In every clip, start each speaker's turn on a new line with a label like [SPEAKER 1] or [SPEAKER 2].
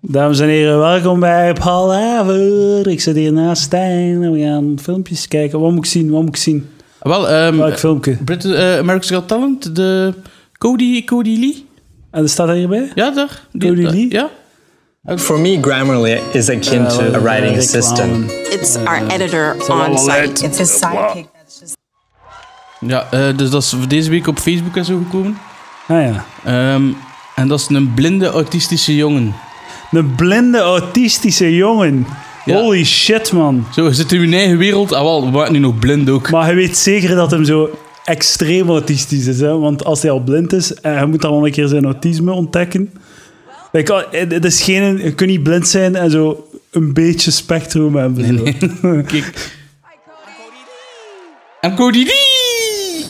[SPEAKER 1] Dames en heren, welkom bij Paul Haver. Ik zit hier naast Stijn en we gaan filmpjes kijken. Wat moet ik zien? Wat moet ik zien?
[SPEAKER 2] Wel, ehm
[SPEAKER 1] Welk filmpje?
[SPEAKER 2] Brit- eh, America's Got Talent, de Cody, Cody Lee.
[SPEAKER 1] En er staat er hierbij?
[SPEAKER 2] Ja, daar.
[SPEAKER 1] Cody Lee?
[SPEAKER 2] Ja.
[SPEAKER 3] For me, Grammarly is akin
[SPEAKER 1] Uh,
[SPEAKER 3] to a writing
[SPEAKER 1] Reclame.
[SPEAKER 3] assistant.
[SPEAKER 4] It's our
[SPEAKER 1] Uh,
[SPEAKER 4] editor on site. It's his sidekick. That's just
[SPEAKER 2] Ja, eh, dus dat is deze week op Facebook en zo gekomen.
[SPEAKER 1] Ah ja.
[SPEAKER 2] Ehm, en dat is een blinde autistische jongen.
[SPEAKER 1] Een blinde autistische jongen.
[SPEAKER 2] Ja.
[SPEAKER 1] Holy shit, man.
[SPEAKER 2] Zo, we zitten in hun eigen wereld. Ah wel, we waren nu nog blind ook.
[SPEAKER 1] Maar je weet zeker dat hem zo extreem autistisch is. Hè? Want als hij al blind is en hij moet dan wel een keer zijn autisme ontdekken. Like, oh, eh, het is geen, je kunt niet blind zijn en zo een beetje spectrum hebben. zo.
[SPEAKER 2] Kijk. En Cody Lee!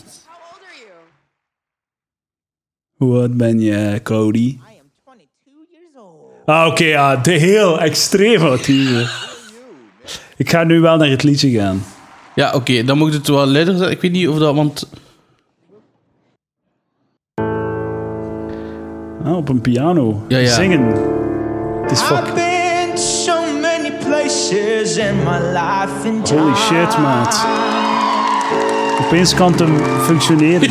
[SPEAKER 1] Hoe oud ben je, Cody? Ah, oké, ja, de heel extreem autisme. Ik ga nu wel naar het liedje gaan.
[SPEAKER 2] Ja, oké, dan moet het wel luider zijn. Ik weet niet of dat, want...
[SPEAKER 1] Ah, op een piano.
[SPEAKER 2] Ja, ja.
[SPEAKER 1] Zingen. Het is fuck.
[SPEAKER 5] I've been so many places in my life and time.
[SPEAKER 1] Holy shit, maat. Opeens kan het hem functioneren.
[SPEAKER 5] I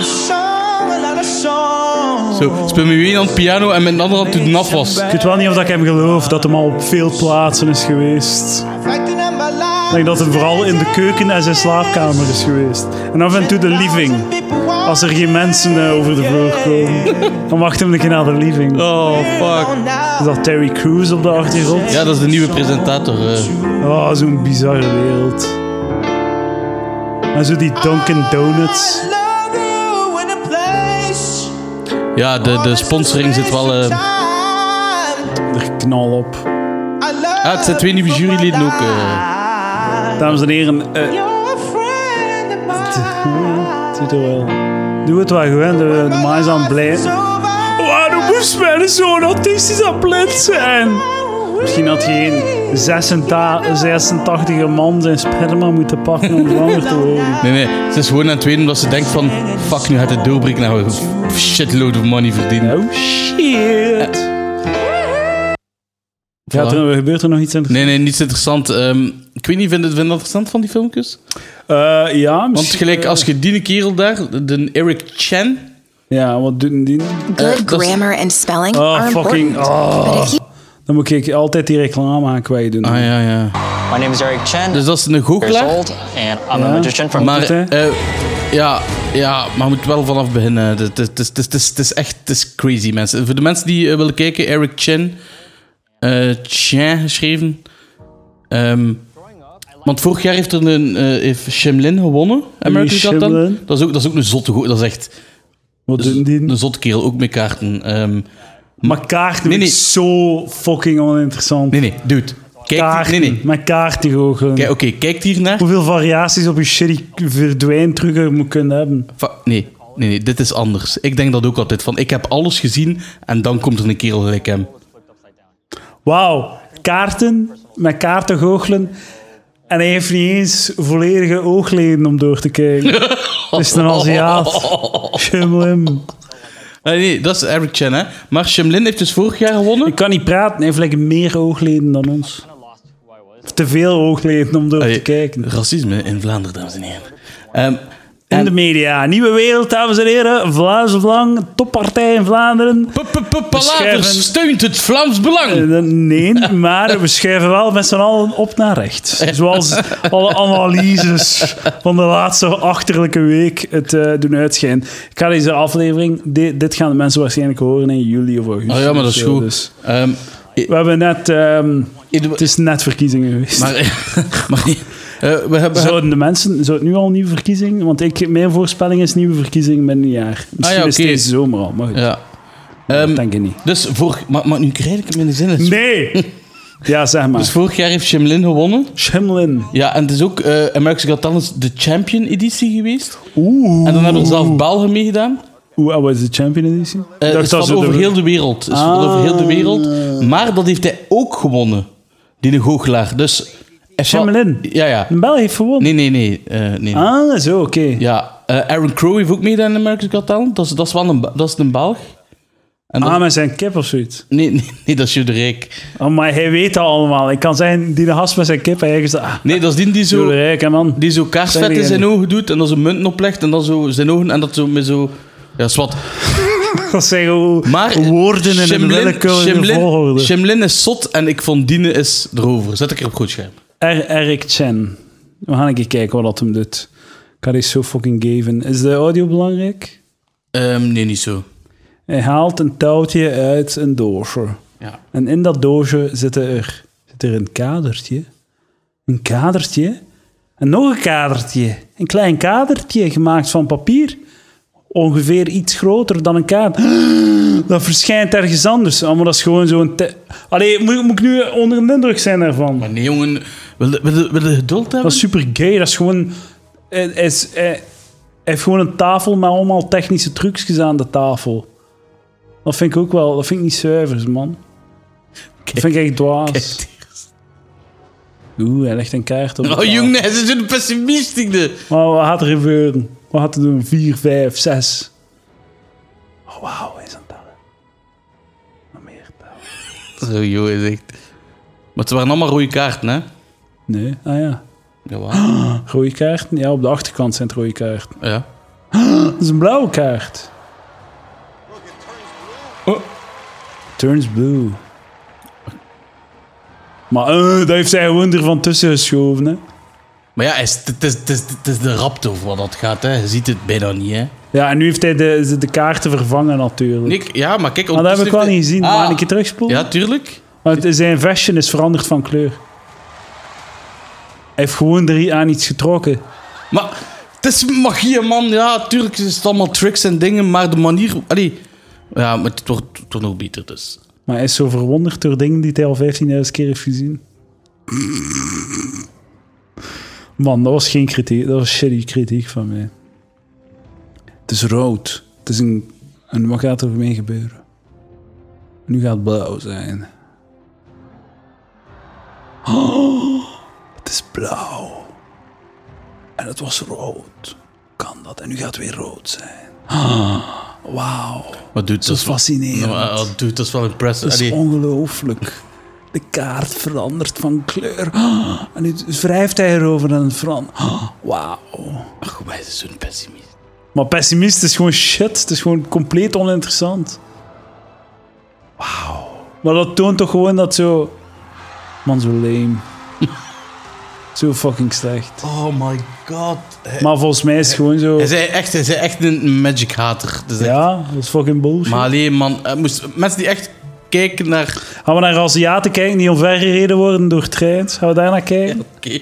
[SPEAKER 5] sung a lot of songs.
[SPEAKER 2] Zo, speel met wie aan het piano en met een ander aan het doen afwas.
[SPEAKER 1] Ik weet wel niet of dat ik hem geloof dat hem al op veel plaatsen is geweest.
[SPEAKER 5] Reflecting on my life.
[SPEAKER 1] Ik denk dat het vooral in de keuken en zijn slaapkamer is geweest. En af en toe de living. Als er geen mensen eh, over de vloer komen, dan wacht hem een keer naar de living.
[SPEAKER 2] Oh, fuck.
[SPEAKER 1] Is dat Terry Crews op de achtergrond?
[SPEAKER 2] Ja, dat is de nieuwe presentator. eh.
[SPEAKER 1] Oh, zo'n bizarre wereld. En zo die Dunkin' Donuts.
[SPEAKER 5] Love you in a place.
[SPEAKER 2] Ja, de, de sponsoring zit wel... eh,
[SPEAKER 5] Time.
[SPEAKER 1] Er knal op.
[SPEAKER 5] I love
[SPEAKER 2] Ah, het zijn twee nieuwe juryleden ook,
[SPEAKER 5] You're
[SPEAKER 1] Dames en heren, eh,
[SPEAKER 5] a friend of
[SPEAKER 1] het
[SPEAKER 5] mine.
[SPEAKER 1] doet er wel. Doe het waar gewend, de, de maai is aan het Oh, ah, blij.
[SPEAKER 5] It's over.
[SPEAKER 1] Waarom moest men zo'n autistisch blind zijn? Misschien had geen 86 86 man zijn sperma moeten pakken om zwanger te worden.
[SPEAKER 2] Nee, nee. Ze is gewoon aan het tweede omdat ze denkt van... Fuck, nu gaat het doorbreken naar een shitload of money verdienen.
[SPEAKER 1] Oh shit. Gaat
[SPEAKER 2] Voilà.
[SPEAKER 1] er, gebeurt er nog iets in?
[SPEAKER 2] Nee, nee, niets interessant. Ehm, ik weet niet, vind je het vind je dat interessant van die filmpjes?
[SPEAKER 1] Eh, ja,
[SPEAKER 2] Want
[SPEAKER 1] misschien...
[SPEAKER 2] gelijk als je die kerel daar, de- de Eric Chen...
[SPEAKER 1] Ja, wat doen die?
[SPEAKER 2] eh,
[SPEAKER 4] good
[SPEAKER 2] dat is-
[SPEAKER 4] grammar and spelling
[SPEAKER 1] Oh,
[SPEAKER 4] are
[SPEAKER 1] fucking...
[SPEAKER 4] important.
[SPEAKER 1] Oh.
[SPEAKER 4] But if you
[SPEAKER 1] Dan moet ik altijd die reclame aan kwijt doen.
[SPEAKER 2] Ah ja, ja.
[SPEAKER 6] My name is Eric Chen.
[SPEAKER 2] Dus dat is een
[SPEAKER 6] years
[SPEAKER 2] goochelaar.
[SPEAKER 6] old, and I'm
[SPEAKER 1] Yeah.
[SPEAKER 6] a magician from.
[SPEAKER 2] Maar,
[SPEAKER 1] Goed, hè?
[SPEAKER 2] eh, ja, ja, maar moet wel vanaf beginnen. Het- Het het- het- het- het- het is echt het is crazy, mensen. Voor de mensen die eh, willen kijken, Eric Chen. eh Chen geschreven. Ehm, want vorig jaar heeft er een, eh heeft Shemlin gewonnen. American Got Talent.
[SPEAKER 1] Shemlin.
[SPEAKER 2] Dat is ook, dat is ook een zotte goe- Dat is echt
[SPEAKER 1] Wat doen
[SPEAKER 2] een
[SPEAKER 1] die?
[SPEAKER 2] zotte kerel, ook met kaarten. Ehm,
[SPEAKER 1] Maar kaarten
[SPEAKER 2] dus- Nee,
[SPEAKER 1] vind ik zo
[SPEAKER 2] nee.
[SPEAKER 1] fucking oninteressant.
[SPEAKER 2] nee, nee, dude. Kijk,
[SPEAKER 1] Kaarten,
[SPEAKER 2] nee, nee.
[SPEAKER 1] met kaarten goochelen.
[SPEAKER 2] Kijk, Oké, kijk hiernaar.
[SPEAKER 1] Hoeveel variaties op je shitty verdwijntrucker moet kunnen hebben.
[SPEAKER 2] Va- nee, nee, nee, dit is anders. Ik denk dat ook altijd. Van, ik heb alles gezien en dan komt er een kerel gelijk hem.
[SPEAKER 1] Wauw, kaarten, met kaarten goochelen. En hij heeft niet eens volledige oogleden om door te kijken. Het is een Aziat. Shimlim.
[SPEAKER 2] Nee, Ah, nee, dat is Eric Chen, hè. Maar Shemlin heeft dus vorig jaar gewonnen.
[SPEAKER 1] Ik kan niet praten, hij heeft like meer oogleden dan ons. Of Te veel oogleden om door
[SPEAKER 2] Allee,
[SPEAKER 1] te kijken.
[SPEAKER 2] Racisme in Vlaanderen, dames en heren. Ehm,
[SPEAKER 1] In
[SPEAKER 2] en-
[SPEAKER 1] de media, nieuwe wereld, dames en heren. Vlaams Belang, toppartij in Vlaanderen.
[SPEAKER 2] P- p- p- Palaver
[SPEAKER 1] Beschrijven.
[SPEAKER 2] steunt het Vlaams Belang.
[SPEAKER 1] Eh, Nee, maar we schuiven wel met z'n allen op naar rechts. Zoals alle analyses van de laatste achterlijke week het eh, doen uitschijnen. Ik ga deze aflevering, di- dit gaan de mensen waarschijnlijk horen in juli of augustus.
[SPEAKER 2] Oh ja, maar dat is
[SPEAKER 1] of zo,
[SPEAKER 2] goed.
[SPEAKER 1] dus.
[SPEAKER 2] Ehm, i-
[SPEAKER 1] We hebben net, ehm,
[SPEAKER 2] i-
[SPEAKER 1] het is net verkiezingen geweest.
[SPEAKER 2] maar, maar, eh, we hebben...
[SPEAKER 1] Zouden de mensen, zou het nu al nieuwe verkiezingen? Want ik, mijn voorspelling is nieuwe verkiezingen binnen een jaar. Misschien is het
[SPEAKER 2] Ah oké.
[SPEAKER 1] deze zomer al, maar goed,
[SPEAKER 2] ja.
[SPEAKER 1] dat
[SPEAKER 2] Ehm,
[SPEAKER 1] denk ik niet.
[SPEAKER 2] dus vorig... Maar, maar nu krijg ik hem in de zin. Dus
[SPEAKER 1] Nee! Ja, zeg maar.
[SPEAKER 2] vorig jaar heeft Shemlin gewonnen.
[SPEAKER 1] Schimmelin.
[SPEAKER 2] Ja, en het is ook eh America's Got Talent de Champion editie geweest.
[SPEAKER 1] Oeh.
[SPEAKER 2] En dan hebben er zelf Belgen meegedaan.
[SPEAKER 1] Oeh, ah, wat is de Champion Edition?
[SPEAKER 2] Eh
[SPEAKER 1] dat
[SPEAKER 2] het gaat
[SPEAKER 1] zo
[SPEAKER 2] over
[SPEAKER 1] de-
[SPEAKER 2] heel de wereld. Het is van over heel de wereld. Maar dat heeft hij ook gewonnen, die goochelaar. Dus... hij val-
[SPEAKER 1] Shemlin.
[SPEAKER 2] Ja, ja.
[SPEAKER 1] Een Belg heeft gewonnen.
[SPEAKER 2] Nee, nee, nee. eh, nee.
[SPEAKER 1] Ah, zo, oké.
[SPEAKER 2] Ja, eh, Aaron Crowe heeft ook meegedaan in America's Got Talent. Dat is, dat is wel een, Ba- dat is een Belg. En dan-
[SPEAKER 1] Ah, met zijn kip of zoiets.
[SPEAKER 2] nee, nee, nee, dat is Juderik.
[SPEAKER 1] Oh, maar hij weet dat allemaal. Ik kan zijn, die gast met zijn kip, hij is ah,
[SPEAKER 2] Nee, dat is die die
[SPEAKER 1] zo
[SPEAKER 2] zo,
[SPEAKER 1] rijk, hè, man.
[SPEAKER 2] die zo kaarsvet in zijn ogen doet en dan zo munten oplegt en dan zo zijn ogen en dat zo met zo... Ja, zwart.
[SPEAKER 1] Dat zijn gewoon
[SPEAKER 2] Maar eh,
[SPEAKER 1] woorden in een willekeurige
[SPEAKER 2] Shemlin,
[SPEAKER 1] volgorde.
[SPEAKER 2] Shemlin is zot en ik vond Dine is erover. Zet ik er op goed scherm.
[SPEAKER 1] Er- Eric Chen. We gaan een keer kijken wat dat hem doet. Ik ga die zo fucking geven. Is de audio belangrijk?
[SPEAKER 2] Ehm, nee, niet zo.
[SPEAKER 1] Hij haalt een touwtje uit een doosje.
[SPEAKER 2] Ja.
[SPEAKER 1] En in dat doosje zit er, zit er een kadertje. Een kadertje. En nog een kadertje. Een klein kadertje gemaakt van papier. Ongeveer iets groter dan een kaart. Dat verschijnt ergens anders. Ah, Maar dat is gewoon zo'n... te- Allee, moet, moet ik nu onder de indruk zijn daarvan?
[SPEAKER 2] Maar nee, jongen. Wil je, wil je- wil je geduld hebben?
[SPEAKER 1] Dat is super gay. Dat is gewoon. Hij, hij is, hij- hij heeft gewoon een tafel met allemaal technische trucjes aan de tafel. Dat vind ik ook wel. Dat vind ik niet zuivers, man. Dat vind ik echt dwaas. Oeh, hij legt een kaart op. de
[SPEAKER 2] Oh,
[SPEAKER 1] tafel.
[SPEAKER 2] jongen, hij is een pessimist. ik de-
[SPEAKER 1] Maar wat gaat er gebeuren? Wat gaat er doen? 4, 5, 6. Oh, wauw, hij is aan het tellen. Nog meer tellen.
[SPEAKER 2] Zo, joh, is echt... Maar het waren allemaal rode kaarten, hè?
[SPEAKER 1] Nee, ah ja.
[SPEAKER 2] Jawel.
[SPEAKER 1] Rode kaarten? Ja, op de achterkant zijn het rode kaarten.
[SPEAKER 2] Ja.
[SPEAKER 1] Dat is een blauwe kaart. Oh. Turns blue. Maar eh, dat heeft zij gewoon ervan tussen geschoven. Hè?
[SPEAKER 2] Maar ja, hij is- het is, het is, het is de raptor voor wat dat gaat, hè? Je ziet het bijna niet, hè?
[SPEAKER 1] Ja, en nu heeft hij de, de- de kaarten vervangen natuurlijk.
[SPEAKER 2] Nick, ja, maar kijk...
[SPEAKER 1] maar dat heb ik wel
[SPEAKER 2] ondertussen
[SPEAKER 1] niet gezien.
[SPEAKER 2] heeft hij-
[SPEAKER 1] Maar een
[SPEAKER 2] Ah.
[SPEAKER 1] keer terugspoelen.
[SPEAKER 2] Ja, tuurlijk.
[SPEAKER 1] Maar het- zijn fashion is veranderd van kleur. Hij heeft gewoon er aan iets getrokken.
[SPEAKER 2] Maar het is magie, man. Ja, tuurlijk is het allemaal tricks en dingen, maar de manier... Allee, ja, maar het wordt, het wordt nog beter, dus.
[SPEAKER 1] Maar hij is zo verwonderd door dingen die hij al 15.000 keer heeft gezien. Man, dat was geen kritiek. Dat was shitty kritiek van mij. Het is rood. Het is een... En wat gaat er mee gebeuren? Nu gaat het blauw zijn. Oh, het is blauw. En het was rood. Kan dat? En nu gaat het weer rood zijn. Ah, wauw.
[SPEAKER 2] Wat doet
[SPEAKER 1] Dat is fascinerend.
[SPEAKER 2] Wat doet dat is wel impressive.
[SPEAKER 1] Dat is
[SPEAKER 2] Allee,
[SPEAKER 1] ongelooflijk. De kaart verandert van kleur. Ah, En nu wrijft hij erover en van. Wauw.
[SPEAKER 2] ach, wij zijn zo'n pessimist.
[SPEAKER 1] Maar pessimist is gewoon shit. Het is gewoon compleet oninteressant. Wauw. Maar dat toont toch gewoon dat zo... Man, zo lame. zo fucking slecht.
[SPEAKER 2] Oh my god.
[SPEAKER 1] Maar volgens mij is het gewoon zo...
[SPEAKER 2] Eh. Hij zei echt, hij zei echt een magic hater. Dus echt-
[SPEAKER 1] Ja, dat is fucking bullshit.
[SPEAKER 2] Maar alleen, man, hij moest, mensen die echt kijken naar...
[SPEAKER 1] Gaan we naar Aziaten kijken die omvergereden worden door treins? Gaan we daar naar kijken?
[SPEAKER 2] Oké.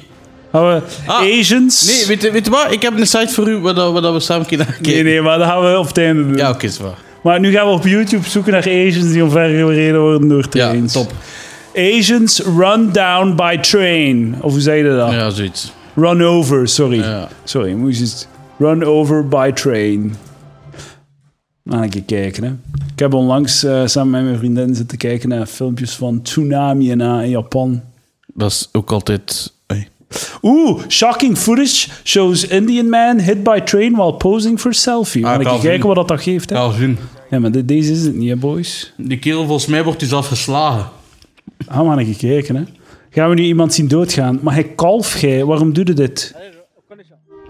[SPEAKER 1] Gaan we
[SPEAKER 2] Ah,
[SPEAKER 1] Asians?
[SPEAKER 2] Nee, weet, je- weet je wat? Ik heb een site voor u waar, dat- waar dat we samen kunnen naar kijken.
[SPEAKER 1] Nee, nee, maar dat gaan we op het einde doen.
[SPEAKER 2] Ja, oké, is waar.
[SPEAKER 1] Maar nu gaan we op YouTube zoeken naar Asians die omvergereden worden door
[SPEAKER 2] Ja,
[SPEAKER 1] trains.
[SPEAKER 2] top.
[SPEAKER 1] Asians run down by train. Of hoe zei je dat?
[SPEAKER 2] Ja, zoiets.
[SPEAKER 1] Run over, sorry.
[SPEAKER 2] Ja.
[SPEAKER 1] Sorry, moest je eens- Run over by train. Aan een keer kijken, hè. Ik heb onlangs eh, samen met mijn vriendin zitten kijken naar filmpjes van tsunami en eh, in Japan.
[SPEAKER 2] Dat is ook altijd... Hey.
[SPEAKER 1] Oeh, shocking footage shows Indian man hit by train while posing for selfie. Aan
[SPEAKER 2] Ah, ik
[SPEAKER 1] een
[SPEAKER 2] al
[SPEAKER 1] keer
[SPEAKER 2] gezien.
[SPEAKER 1] kijken wat dat, dat geeft, hè.
[SPEAKER 2] Ja, zien.
[SPEAKER 1] Ja, maar dit- deze is het niet, hè, boys.
[SPEAKER 2] Die kerel, volgens mij wordt dus hij zelf geslagen.
[SPEAKER 1] Gaan we naar Ah, gekeken, hè? Gaan we nu iemand zien doodgaan? Maar hij kalf, gij, waarom doe je dit?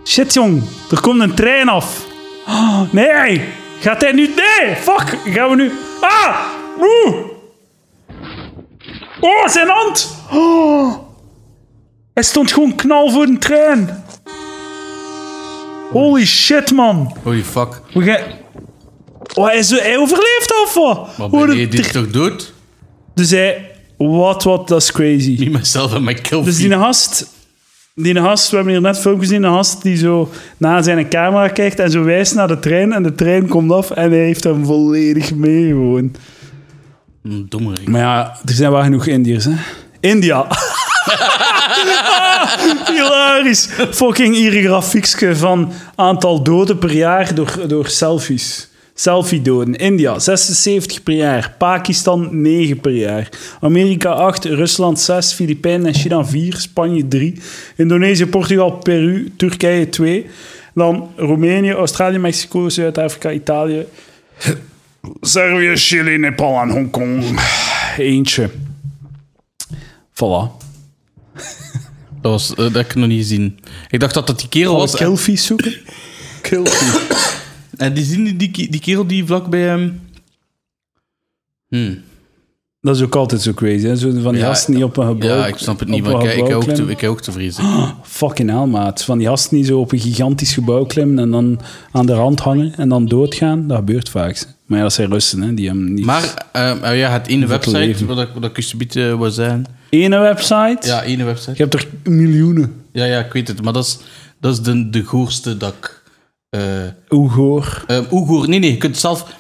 [SPEAKER 1] Shit, jong, er komt een trein af. Oh, nee, gaat hij nu... Nee, fuck, gaan we nu... Ah, oeh. Oh, zijn hand. Oh. Hij stond gewoon knal voor een trein. Holy shit, man.
[SPEAKER 2] Holy fuck.
[SPEAKER 1] We gaan... Oh, hij, is, hij overleeft of wat?
[SPEAKER 2] Maar
[SPEAKER 1] Oh,
[SPEAKER 2] ben
[SPEAKER 1] de
[SPEAKER 2] je
[SPEAKER 1] tre-
[SPEAKER 2] dit toch dood?
[SPEAKER 1] Dus hij... Wat, wat, dat is crazy.
[SPEAKER 2] Niet mezelf en mijn kill.
[SPEAKER 1] Dus die gast, die gast, we hebben hier net een filmpje gezien, een gast die zo naar zijn camera kijkt en zo wijst naar de trein en de trein komt af en hij heeft hem volledig mee gewoon.
[SPEAKER 2] Een domme ring.
[SPEAKER 1] Maar ja, er zijn wel genoeg Indiërs, hè? India. Hilarisch. Fucking hier een grafiekje van aantal doden per jaar door, door selfies. Selfie-doden. India, 76 per jaar. Pakistan, 9 per jaar. Amerika, 8. Rusland, 6. Filipijnen en China, 4. Spanje, 3. Indonesië, Portugal, Peru, Turkije, 2. Dan Roemenië, Australië, Mexico, Zuid-Afrika, Italië, Servië, Chili, Nepal en Hongkong. Eentje. Voilà.
[SPEAKER 2] Dat, was, eh, dat heb ik nog niet gezien. Ik dacht dat dat die
[SPEAKER 1] Oh,
[SPEAKER 2] kerel was. En,
[SPEAKER 1] Kilfies zoeken? Kilfies.
[SPEAKER 2] en die, zien die, die, die kerel die vlak bij hem.
[SPEAKER 1] Dat is ook altijd zo crazy. Hè? Zo van die
[SPEAKER 2] Ja,
[SPEAKER 1] gasten die op een gebouw...
[SPEAKER 2] Ja, ik snap het niet,
[SPEAKER 1] op een
[SPEAKER 2] maar ik, ik,
[SPEAKER 1] gebouw
[SPEAKER 2] hou ook te,
[SPEAKER 1] klimmen.
[SPEAKER 2] ik hou ook te vriezen.
[SPEAKER 1] Fucking hell, maat. Van die gasten die zo op een gigantisch gebouw klimmen en dan aan de rand hangen en dan doodgaan, dat gebeurt vaak. Maar ja, dat zijn Russen, hè. Die hebben niet...
[SPEAKER 2] Maar eh, eh, ja, het ene
[SPEAKER 1] Om te
[SPEAKER 2] website,
[SPEAKER 1] leven.
[SPEAKER 2] wat ik, wat ik zo biedt, eh, wou zijn.
[SPEAKER 1] Ene website?
[SPEAKER 2] Ja, ene website.
[SPEAKER 1] Je hebt er miljoenen.
[SPEAKER 2] Ja, ja, ik weet het, maar dat is, dat is de, de goorste dat ik. eh,
[SPEAKER 1] Oegoor.
[SPEAKER 2] Ehm, hoe goor- nee, nee, je kunt zelf.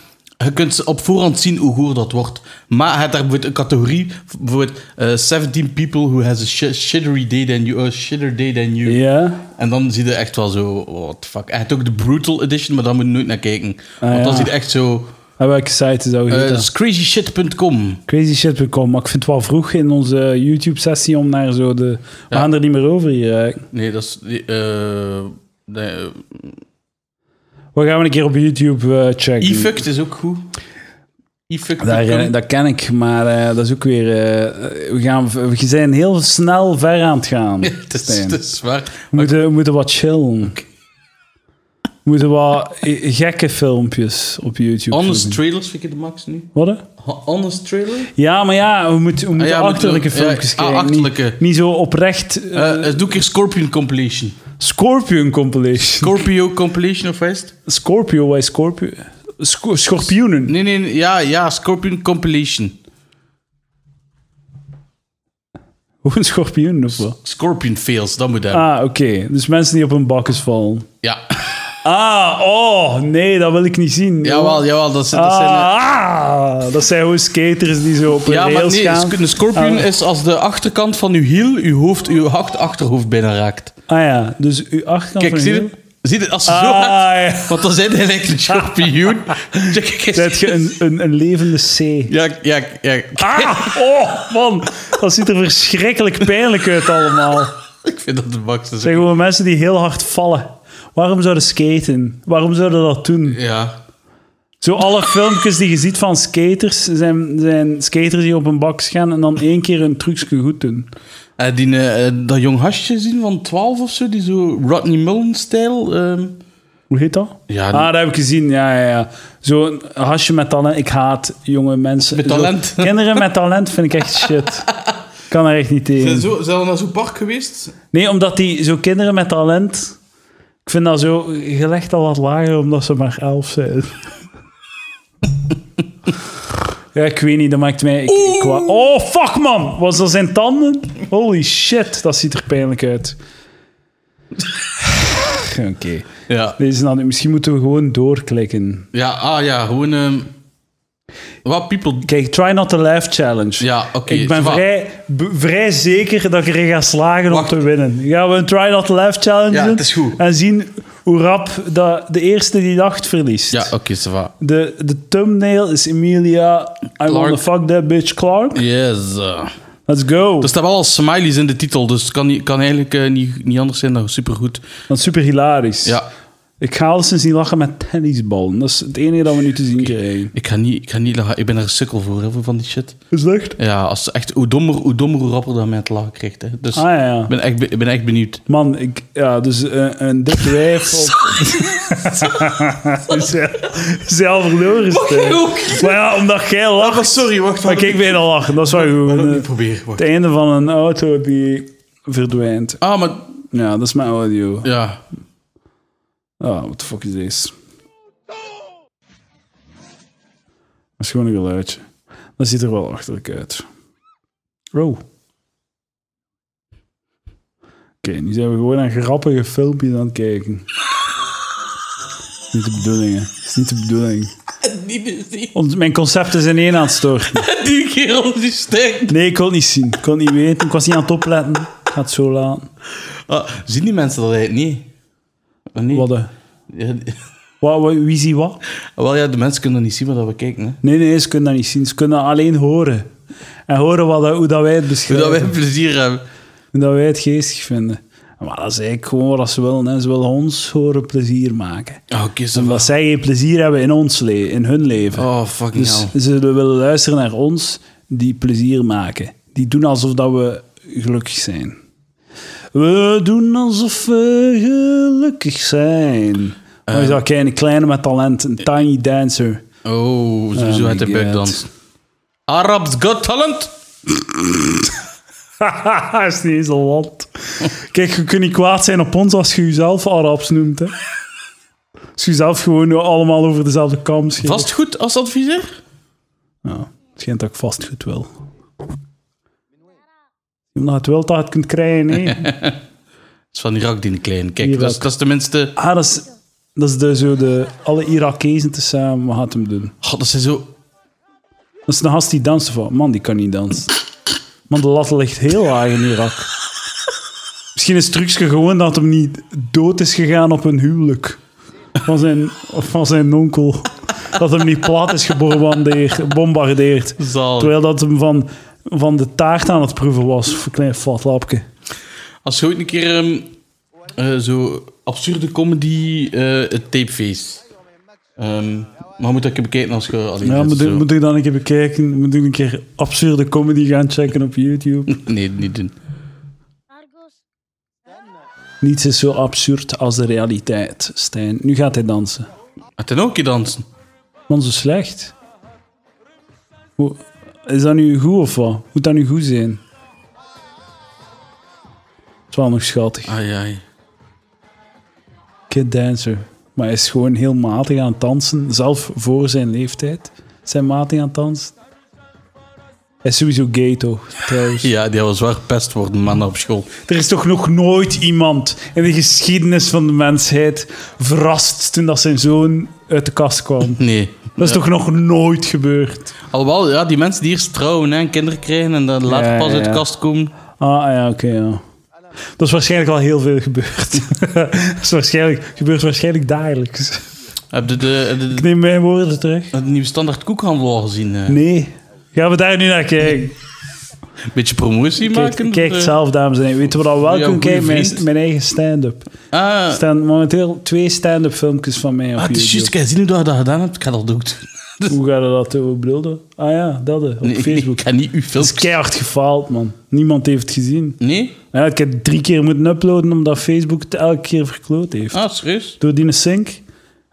[SPEAKER 2] Je kunt op voorhand zien hoe goor dat wordt. Maar het daar bijvoorbeeld een categorie. Bijvoorbeeld eh, 17 people who has a shi- shittery day than you. a shitter day than you.
[SPEAKER 1] Ja.
[SPEAKER 2] En dan zie je echt wel zo. What the fuck. Hij heeft ook de Brutal Edition, maar daar moet je nooit naar kijken. Want dan
[SPEAKER 1] Ah, ja.
[SPEAKER 2] zie je echt zo.
[SPEAKER 1] En welke site is dat?
[SPEAKER 2] eh,
[SPEAKER 1] Uh,
[SPEAKER 2] crazyshit.com.
[SPEAKER 1] Crazy shit bekomen. Maar ik vind het wel vroeg in onze YouTube-sessie om naar zo de... We gaan er niet meer over hier. hè.
[SPEAKER 2] Nee, dat is. eh, nee, eh,
[SPEAKER 1] We gaan een keer op YouTube eh, checken.
[SPEAKER 2] E-fucked is ook goed. E-fucked.
[SPEAKER 1] Daar, eh, dat ken ik, maar eh, dat is ook weer... eh, we, gaan, we zijn heel snel ver aan het gaan.
[SPEAKER 2] Het is,
[SPEAKER 1] Stijn.
[SPEAKER 2] het is waar.
[SPEAKER 1] We moeten, we moeten wat chillen. We moeten wat eh, gekke filmpjes op YouTube
[SPEAKER 2] Honest
[SPEAKER 1] zoeken.
[SPEAKER 2] trailers vind ik de max nu.
[SPEAKER 1] Wat? hè?
[SPEAKER 2] Honest trailer?
[SPEAKER 1] Ja, maar ja, we moeten, we moeten
[SPEAKER 2] Ah, ja, we
[SPEAKER 1] achterlijke
[SPEAKER 2] moeten-
[SPEAKER 1] filmpjes
[SPEAKER 2] ja, ah,
[SPEAKER 1] kijken.
[SPEAKER 2] achterlijke.
[SPEAKER 1] Niet, niet zo oprecht... eh,
[SPEAKER 2] Eh, eh, doe ik hier Scorpion compilation.
[SPEAKER 1] Scorpion compilation.
[SPEAKER 2] Scorpio compilation of West?
[SPEAKER 1] Scorpio, why Scorpio? Sco- schorpioenen.
[SPEAKER 2] Nee, nee, nee, ja, ja, Scorpion compilation.
[SPEAKER 1] Hoe een schorpioen of wat?
[SPEAKER 2] Scorpion fails, dat moet hebben.
[SPEAKER 1] Ah, oké. Dus mensen die op hun bakjes vallen.
[SPEAKER 2] Ja.
[SPEAKER 1] Ah, oh, nee, dat wil ik niet zien.
[SPEAKER 2] jawel, jawel, dat, zijn- dat zijn... eh,
[SPEAKER 1] Ah, ah, dat zijn gewoon skaters die zo op een
[SPEAKER 2] ja, maar
[SPEAKER 1] rails
[SPEAKER 2] nee,
[SPEAKER 1] gaan. Ah.
[SPEAKER 2] een Scorpion is als de achterkant van uw hiel uw hoofd, uw hard achterhoofd binnen raakt.
[SPEAKER 1] Ah ja, dus uw achterkant
[SPEAKER 2] Kijk,
[SPEAKER 1] van
[SPEAKER 2] zie
[SPEAKER 1] je
[SPEAKER 2] je? Zie je, als ze zo hard...
[SPEAKER 1] Ah, ja.
[SPEAKER 2] Want dan zijn hij eigenlijk een Scorpioen. Check, kijk eens.
[SPEAKER 1] Zet je een, een, een levende C.
[SPEAKER 2] Ja, ja, ja.
[SPEAKER 1] Ah, oh, man. Dat ziet er verschrikkelijk pijnlijk uit allemaal.
[SPEAKER 2] Ik vind dat de dus- max. dat is-
[SPEAKER 1] Het zijn gewoon mensen die heel hard vallen. Waarom zouden skaten? Waarom zouden dat doen?
[SPEAKER 2] Ja.
[SPEAKER 1] Zo alle filmpjes die je ziet van skaters, zijn, zijn skaters die op een bak gaan en dan één keer hun trucje goed doen.
[SPEAKER 2] Eh, die, eh, eh, dat jong hasje zien van 12 of zo, die zo Rodney Mullen-stijl. ehm,
[SPEAKER 1] Hoe heet dat?
[SPEAKER 2] Ja,
[SPEAKER 1] ah, dat heb ik gezien, ja, ja, ja. Zo'n hasje met talent. Ik haat jonge mensen.
[SPEAKER 2] Met
[SPEAKER 1] Zo,
[SPEAKER 2] talent.
[SPEAKER 1] kinderen met talent vind ik echt shit. Ik kan er echt niet
[SPEAKER 2] Zijn,
[SPEAKER 1] tegen.
[SPEAKER 2] zo, zijn we naar zo'n park geweest?
[SPEAKER 1] Nee, omdat die, zo kinderen met talent, ik vind dat zo gelegd al wat lager, omdat ze maar elf zijn. ja, ik weet niet, dat maakt mij... Ik, ik wa- oh, fuck man! Was dat zijn tanden? Holy shit, dat ziet er pijnlijk uit. Oké.
[SPEAKER 2] Ja.
[SPEAKER 1] Deze dan, misschien moeten we gewoon doorklikken.
[SPEAKER 2] Ja, ah ja, gewoon... ehm wat people...
[SPEAKER 1] Kijk, try not to laugh challenge.
[SPEAKER 2] Ja, oké,
[SPEAKER 1] Ik ben
[SPEAKER 2] zwaar.
[SPEAKER 1] vrij, b- vrij zeker dat ik erin ga slagen
[SPEAKER 2] Wacht.
[SPEAKER 1] om te winnen. Gaan we een try not to laugh challenge
[SPEAKER 2] Ja,
[SPEAKER 1] doen
[SPEAKER 2] het is goed.
[SPEAKER 1] en zien hoe rap dat de eerste die dacht verliest.
[SPEAKER 2] Ja, oké, ça va.
[SPEAKER 1] De, de thumbnail is Emilia, I wanna
[SPEAKER 2] Clark.
[SPEAKER 1] fuck that bitch Clark.
[SPEAKER 2] Yes. eh.
[SPEAKER 1] Let's go.
[SPEAKER 2] Er staan wel al smileys in de titel, dus het kan, niet- kan eigenlijk eh, niet, niet anders zijn dan supergoed.
[SPEAKER 1] Dat is super hilarisch.
[SPEAKER 2] Ja,
[SPEAKER 1] Ik ga al sinds niet lachen met tennisballen. Dat is het enige dat we nu te zien krijgen.
[SPEAKER 2] ik ga niet... Ik, ga niet lachen. ik ben er een sukkel voor, heel veel van die shit.
[SPEAKER 1] Is het echt?
[SPEAKER 2] Ja, als echt... Hoe dommer, hoe dommer, hoe rapper dat mij het lachen krijgt, hè. Dus
[SPEAKER 1] Ah ja.
[SPEAKER 2] ik ben echt, be- ik ben echt benieuwd.
[SPEAKER 1] Man, ik, ja, dus eh, een dik wijf op... Zelf verloren Stijn. Maar ja, omdat jij lacht...
[SPEAKER 2] Ah, sorry, wacht.
[SPEAKER 1] maar kijk, ben al lachen. Dat is wel goed.
[SPEAKER 2] ik
[SPEAKER 1] Eh,
[SPEAKER 2] proberen,
[SPEAKER 1] Het einde van een auto die verdwijnt.
[SPEAKER 2] Ah, maar...
[SPEAKER 1] Ja, dat is mijn audio.
[SPEAKER 2] Ja.
[SPEAKER 1] Ah, what the fuck is this? Dat is gewoon een geluidje. Dat ziet er wel achterlijk uit. Wow. Oké, nu zijn we gewoon naar grappige filmpjes aan het kijken. Niet de bedoeling, hè. is niet de bedoeling.
[SPEAKER 2] Die, die,
[SPEAKER 1] Ons- mijn concept is in één aan het storten.
[SPEAKER 2] die kerel die sterk.
[SPEAKER 1] Nee, ik kon het niet zien. Ik kon het niet weten. Ik was niet aan het opletten. Ik ga het zo laten.
[SPEAKER 2] Ah, zien die mensen dat eigenlijk niet? Of niet?
[SPEAKER 1] Wat, eh,
[SPEAKER 2] Ja, die- Ah,
[SPEAKER 1] wat, wat- wie ziet wat?
[SPEAKER 2] wel ja, de mensen kunnen niet zien wat dat we kijken. Hè.
[SPEAKER 1] Nee, nee, ze kunnen dat niet zien. Ze kunnen dat alleen horen. En horen wat, dat- hoe dat wij het
[SPEAKER 2] Hoe
[SPEAKER 1] beschrijven.
[SPEAKER 2] dat wij plezier hebben.
[SPEAKER 1] En dat wij het geestig vinden. En Maar dat is eigenlijk gewoon wat ze willen. Hè. Ze willen ons horen plezier maken.
[SPEAKER 2] Oh, kies hem.
[SPEAKER 1] Omdat zij geen plezier hebben in ons le- in hun leven.
[SPEAKER 2] Oh, fucking
[SPEAKER 1] dus
[SPEAKER 2] hell.
[SPEAKER 1] ze willen luisteren naar ons die plezier maken. Die doen alsof dat we gelukkig zijn. We doen alsof we gelukkig zijn. Maar is dat een kleine met talent, een tiny dancer.
[SPEAKER 2] Oh, sowieso
[SPEAKER 1] Oh
[SPEAKER 2] uit de
[SPEAKER 1] my
[SPEAKER 2] buik
[SPEAKER 1] God.
[SPEAKER 2] dans. Arabs Got Talent?
[SPEAKER 1] Haha, is niet eens een land. Kijk, je kunt niet kwaad zijn op ons als je jezelf Arabs noemt. Hè. Als je jezelf gewoon allemaal over dezelfde kam schiet.
[SPEAKER 2] Vastgoed als adviseur?
[SPEAKER 1] Ja, het schijnt dat ik vastgoed wil. Omdat het wil dat je het kunt krijgen. hè.
[SPEAKER 2] Dat is van Irak die klein. Kijk,
[SPEAKER 1] Irak.
[SPEAKER 2] dat is, dat is tenminste...
[SPEAKER 1] ah, dat is, dat is de, zo de, alle Irakezen tezamen. Wat gaat hem doen?
[SPEAKER 2] God, dat zijn zo...
[SPEAKER 1] Dat is een gast die danst. Van. Man, die kan niet dansen. Man, de lat ligt heel laag in Irak. Misschien is het trucje gewoon dat hem niet dood is gegaan op een huwelijk. Van zijn, of van zijn onkel. Dat hem niet plat is gebombardeerd. gebombardeerd.
[SPEAKER 2] Zalig.
[SPEAKER 1] Terwijl dat hem van, van de taart aan het proeven was. Voor een klein flat lapje.
[SPEAKER 2] Als je ooit een keer ehm, eh, zo absurde comedy eh, het tapeface. Ehm, maar moet dat je bekijken als je alleen
[SPEAKER 1] Ja,
[SPEAKER 2] zit,
[SPEAKER 1] moet ik,
[SPEAKER 2] zo.
[SPEAKER 1] moet ik dan een keer bekijken? Moet ik een keer absurde comedy gaan checken op YouTube?
[SPEAKER 2] Nee, niet doen.
[SPEAKER 1] Niets is zo absurd als de realiteit, Stijn. Nu gaat hij dansen.
[SPEAKER 2] Had hij nog een keer dansen?
[SPEAKER 1] Man, zo slecht. Hoe, is dat nu goed of wat? Moet dat nu goed zijn? Het is wel nog schattig. Ah,
[SPEAKER 2] Ai, ai.
[SPEAKER 1] Kid dancer. Maar hij is gewoon heel matig aan het dansen. Zelf voor zijn leeftijd. Zijn matig aan het dansen. Hij is sowieso gay toch, trouwens.
[SPEAKER 2] Ja, die was zwaar pest worden, mannen op school.
[SPEAKER 1] Er is toch nog nooit iemand in de geschiedenis van de mensheid verrast toen dat zijn zoon uit de kast kwam.
[SPEAKER 2] Nee.
[SPEAKER 1] Dat is toch nog nooit gebeurd?
[SPEAKER 2] Alhoewel, ja, die mensen die eerst trouwen hè, en kinderen krijgen en dan later
[SPEAKER 1] Ja,
[SPEAKER 2] pas
[SPEAKER 1] ja,
[SPEAKER 2] uit de
[SPEAKER 1] ja.
[SPEAKER 2] kast komen.
[SPEAKER 1] Ah ja, oké, ja. Dat is waarschijnlijk al heel veel gebeurd. dat is waarschijnlijk, gebeurt waarschijnlijk dagelijks.
[SPEAKER 2] Heb je de, heb je de,
[SPEAKER 1] Ik neem mijn woorden terug.
[SPEAKER 2] heb je de nieuwe standaard koekhandel al gezien? eh?
[SPEAKER 1] Nee. Gaan we daar nu naar kijken?
[SPEAKER 2] Beetje promotie
[SPEAKER 1] Kijk,
[SPEAKER 2] maken?
[SPEAKER 1] kijk
[SPEAKER 2] Eh,
[SPEAKER 1] zelf, dames en heren. Weet je wat we wel
[SPEAKER 2] jouw
[SPEAKER 1] kunnen
[SPEAKER 2] goede
[SPEAKER 1] kijken?
[SPEAKER 2] vriend.
[SPEAKER 1] Mijn, mijn eigen stand-up.
[SPEAKER 2] Ah,
[SPEAKER 1] Er staan momenteel twee stand-up filmpjes van mij op
[SPEAKER 2] ah, het is juist,
[SPEAKER 1] YouTube.
[SPEAKER 2] kijk, zien hoe dat je dat gedaan hebt? Ik ga dat ook doen.
[SPEAKER 1] Hoe gaat dat doen? Hoe bedoel je? Ah ja, dat hè, op
[SPEAKER 2] Nee,
[SPEAKER 1] Facebook.
[SPEAKER 2] ik ga niet uw
[SPEAKER 1] Dat
[SPEAKER 2] films...
[SPEAKER 1] is keihard gefaald, man. Niemand heeft het gezien.
[SPEAKER 2] Nee?
[SPEAKER 1] Ja, ik heb drie keer moeten uploaden omdat Facebook het elke keer verkloot heeft.
[SPEAKER 2] Ah, serieus?
[SPEAKER 1] Door die sync.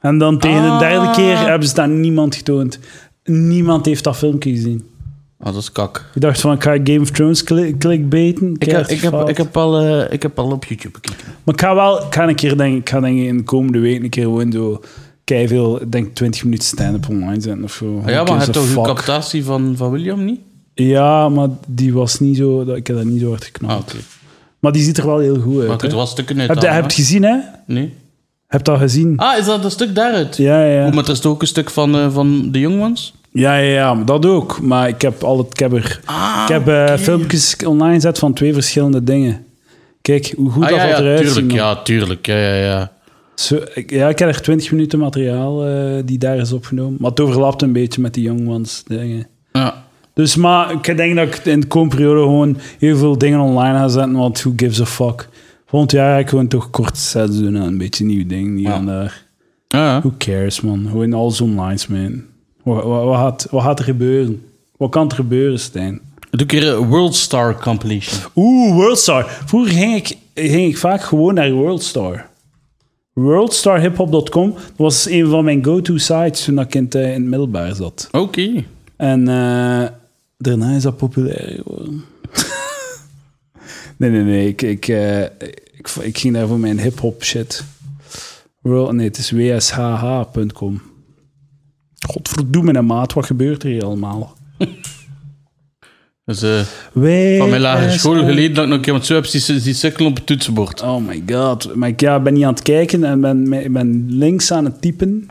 [SPEAKER 1] En dan tegen de derde keer hebben ze dat aan niemand getoond. Niemand heeft dat filmpje gezien.
[SPEAKER 2] Ah, dat is kak.
[SPEAKER 1] Ik dacht van, ik ga Game of Thrones cli- clickbaiten.
[SPEAKER 2] Ik heb,
[SPEAKER 1] Keihard
[SPEAKER 2] ik, heb,
[SPEAKER 1] gefaald.
[SPEAKER 2] ik, heb al, eh, ik heb al op YouTube gekeken.
[SPEAKER 1] Maar ik ga wel ik ga een keer denk, ik ga denk ik in de komende week een keer gewoon zo veel, ik denk 20 minuten stand-up online zijn of zo.
[SPEAKER 2] Ah, ja,
[SPEAKER 1] Who
[SPEAKER 2] maar je
[SPEAKER 1] gives
[SPEAKER 2] hebt
[SPEAKER 1] a
[SPEAKER 2] toch uw
[SPEAKER 1] fuck?
[SPEAKER 2] captatie van, van William niet?
[SPEAKER 1] Ja, maar die was niet zo, dat- ik heb dat niet zo hard geknapt.
[SPEAKER 2] Ah, oké.
[SPEAKER 1] Maar die ziet er wel heel goed uit.
[SPEAKER 2] Maar ik heb
[SPEAKER 1] hè.
[SPEAKER 2] er wel stukken uit.
[SPEAKER 1] Heb je
[SPEAKER 2] halen,
[SPEAKER 1] hebt gezien, hè?
[SPEAKER 2] hè? Nee.
[SPEAKER 1] Heb dat gezien?
[SPEAKER 2] Ah, is dat een stuk daaruit?
[SPEAKER 1] Ja, ja,
[SPEAKER 2] Oh,
[SPEAKER 1] ja.
[SPEAKER 2] maar er is toch ook een stuk van, eh, van de Young Ones?
[SPEAKER 1] Ja, ja, ja, maar dat ook. Maar ik heb al het, ik heb, er-
[SPEAKER 2] Ah,
[SPEAKER 1] ik heb eh, filmpjes online gezet van twee verschillende dingen. Kijk, hoe goed
[SPEAKER 2] Ah,
[SPEAKER 1] dat
[SPEAKER 2] ja, ja,
[SPEAKER 1] eruit ziet.
[SPEAKER 2] tuurlijk,
[SPEAKER 1] man.
[SPEAKER 2] ja, tuurlijk. Ja, ja, ja.
[SPEAKER 1] Zo, ik- ja, ik heb er 20 minuten materiaal eh, die daar is opgenomen. Maar het overlapt een beetje met die Young Ones dingen.
[SPEAKER 2] ja.
[SPEAKER 1] Dus, maar ik denk dat ik in de komende periode gewoon heel veel dingen online ga zetten, want who gives a fuck. Volgend jaar ga ik gewoon toch kort sets doen en een beetje nieuwe dingen hier en daar.
[SPEAKER 2] Ja,
[SPEAKER 1] Who cares, man? Gewoon alles online, man. Wat, wat, wat, gaat, wat gaat er gebeuren? Wat kan er gebeuren, Stijn?
[SPEAKER 2] Doe een keer een World Star Compilation.
[SPEAKER 1] Oeh, Worldstar. Vroeger ging ik, ging ik vaak gewoon naar Worldstar. Worldstarhiphop.com dat was een van mijn go-to sites toen ik in het, eh, in het middelbaar zat.
[SPEAKER 2] Oké.
[SPEAKER 1] En eh, daarna is dat populair geworden. nee, nee, nee. Ik, ik, eh, ik, ik ging daar voor mijn hip-hop shit. World, nee, het is wshh.com. Godverdomme, hè, maat, wat gebeurt er hier allemaal?
[SPEAKER 2] Dus, eh, van mijn lagere school geleden dat ik nog een keer met zo heb die, die sukkel op het toetsenbord.
[SPEAKER 1] Oh my god. Maar ik ja, ben niet aan het kijken en ben, ik ben links aan het typen.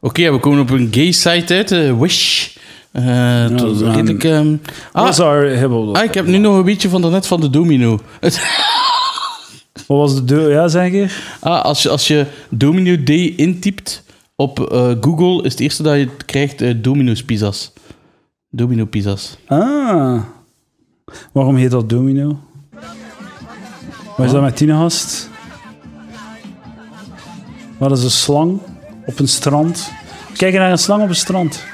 [SPEAKER 2] Oké, ja, we komen op een gay site uit, eh, Wish. Eh, het was
[SPEAKER 1] we gaan-
[SPEAKER 2] redelijk, ehm, ah,
[SPEAKER 1] Wat was haar hibbel?
[SPEAKER 2] ah, ik heb nu nog een beetje van daarnet van de domino.
[SPEAKER 1] Wat was de deur? Ja, zeg ik.
[SPEAKER 2] ah, als, je, als je domino D intypt op eh, Google, is het eerste dat je krijgt eh, domino's pizzas. Domino pizzas.
[SPEAKER 1] Ah. Waarom heet dat domino? Wat is dat met Tinehast? Wat is een slang op een strand? We kijken naar een slang op een strand.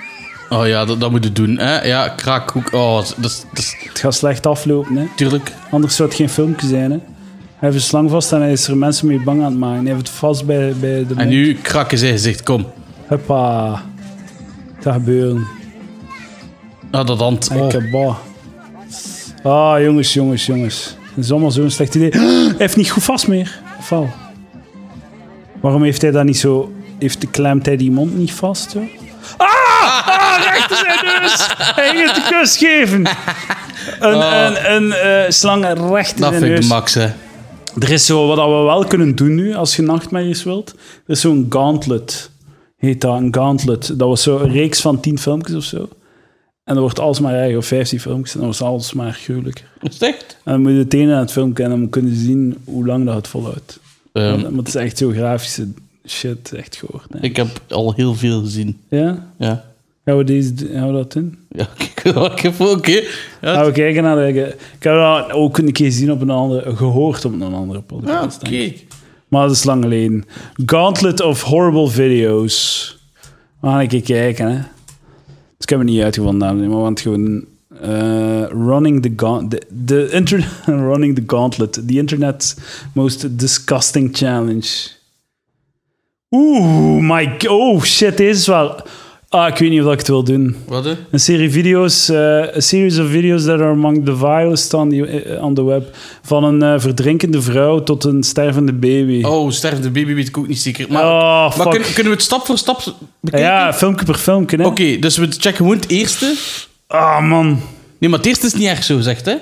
[SPEAKER 2] Oh ja, dat, dat moet je doen. Hè? Ja, kraakhoek. Oh, dat is- dat is
[SPEAKER 1] Het gaat slecht aflopen, hè?
[SPEAKER 2] natuurlijk.
[SPEAKER 1] Anders zou het geen filmpje zijn, hè? Hij heeft een slang vast en hij is er mensen mee bang aan het maken. Hij heeft het vast bij, bij de
[SPEAKER 2] En
[SPEAKER 1] mond.
[SPEAKER 2] nu krakken zijn gezicht. Kom.
[SPEAKER 1] Huppa. Dat gebeuren.
[SPEAKER 2] Ah, dat hand. Oh.
[SPEAKER 1] Ikke ba. Ah, jongens, jongens, jongens. Het is allemaal zo'n slecht idee. Hij heeft niet goed vast meer. Of wel? Waarom heeft hij dat niet zo... Heeft, klemt hij die mond niet vast, joh? Ah! Ah, rechter zijn neus! Hij ging het de kus geven. Een, een, een eh, slang recht in
[SPEAKER 2] Oh. Dat
[SPEAKER 1] de
[SPEAKER 2] vind ik de
[SPEAKER 1] neus.
[SPEAKER 2] max, hè.
[SPEAKER 1] Er is zo, wat dat we wel kunnen doen nu, als je nachtmerries wilt, er is zo'n gauntlet. Heet dat, een gauntlet. Dat was zo'n reeks van tien filmpjes of zo. En dan wordt alles maar erger, of 15 filmpjes, en dan wordt alles maar gruwelijker.
[SPEAKER 2] Is het echt?
[SPEAKER 1] En dan moet je het ene aan het filmpje en dan kunnen zien hoe lang dat het volhoudt.
[SPEAKER 2] Ehm,
[SPEAKER 1] Want het is echt zo grafische shit, echt gehoord.
[SPEAKER 2] ik heb al heel veel gezien.
[SPEAKER 1] Ja?
[SPEAKER 2] Ja.
[SPEAKER 1] Gaan we, deze, gaan we dat doen?
[SPEAKER 2] Ja, oké. oké, Oké. Ja,
[SPEAKER 1] Gaan we kijken naar de... Ik heb dat ook een keer gezien op een andere... Gehoord op een andere
[SPEAKER 2] ja,
[SPEAKER 1] podcast.
[SPEAKER 2] oké.
[SPEAKER 1] denk ik. Maar dat is lang geleden. Gauntlet of Horrible Videos. We gaan een keer kijken, hè. Dus ik heb het niet uitgevonden, dames en heren, maar want gewoon... eh, running the Gauntlet... The, the inter- running the Gauntlet. The internet's most disgusting challenge. Oeh, my... g- Oh, shit, deze is wel... Ah, ik weet niet of ik het wil doen.
[SPEAKER 2] Wat, hè?
[SPEAKER 1] Een serie video's, eh a series of videos that are among the vilest on the, eh, on the web. Van een eh, verdrinkende vrouw tot een stervende baby.
[SPEAKER 2] Oh, sterfde baby weet ik ook niet zeker. Maar,
[SPEAKER 1] Oh,
[SPEAKER 2] maar
[SPEAKER 1] fuck.
[SPEAKER 2] kun- kunnen we het stap voor stap bekijken?
[SPEAKER 1] ja, filmpje per filmpje, hè?
[SPEAKER 2] Oké, dus we checken gewoon het eerste.
[SPEAKER 1] Ah, man.
[SPEAKER 2] Nee, maar het eerste is niet erg zo gezegd, hè?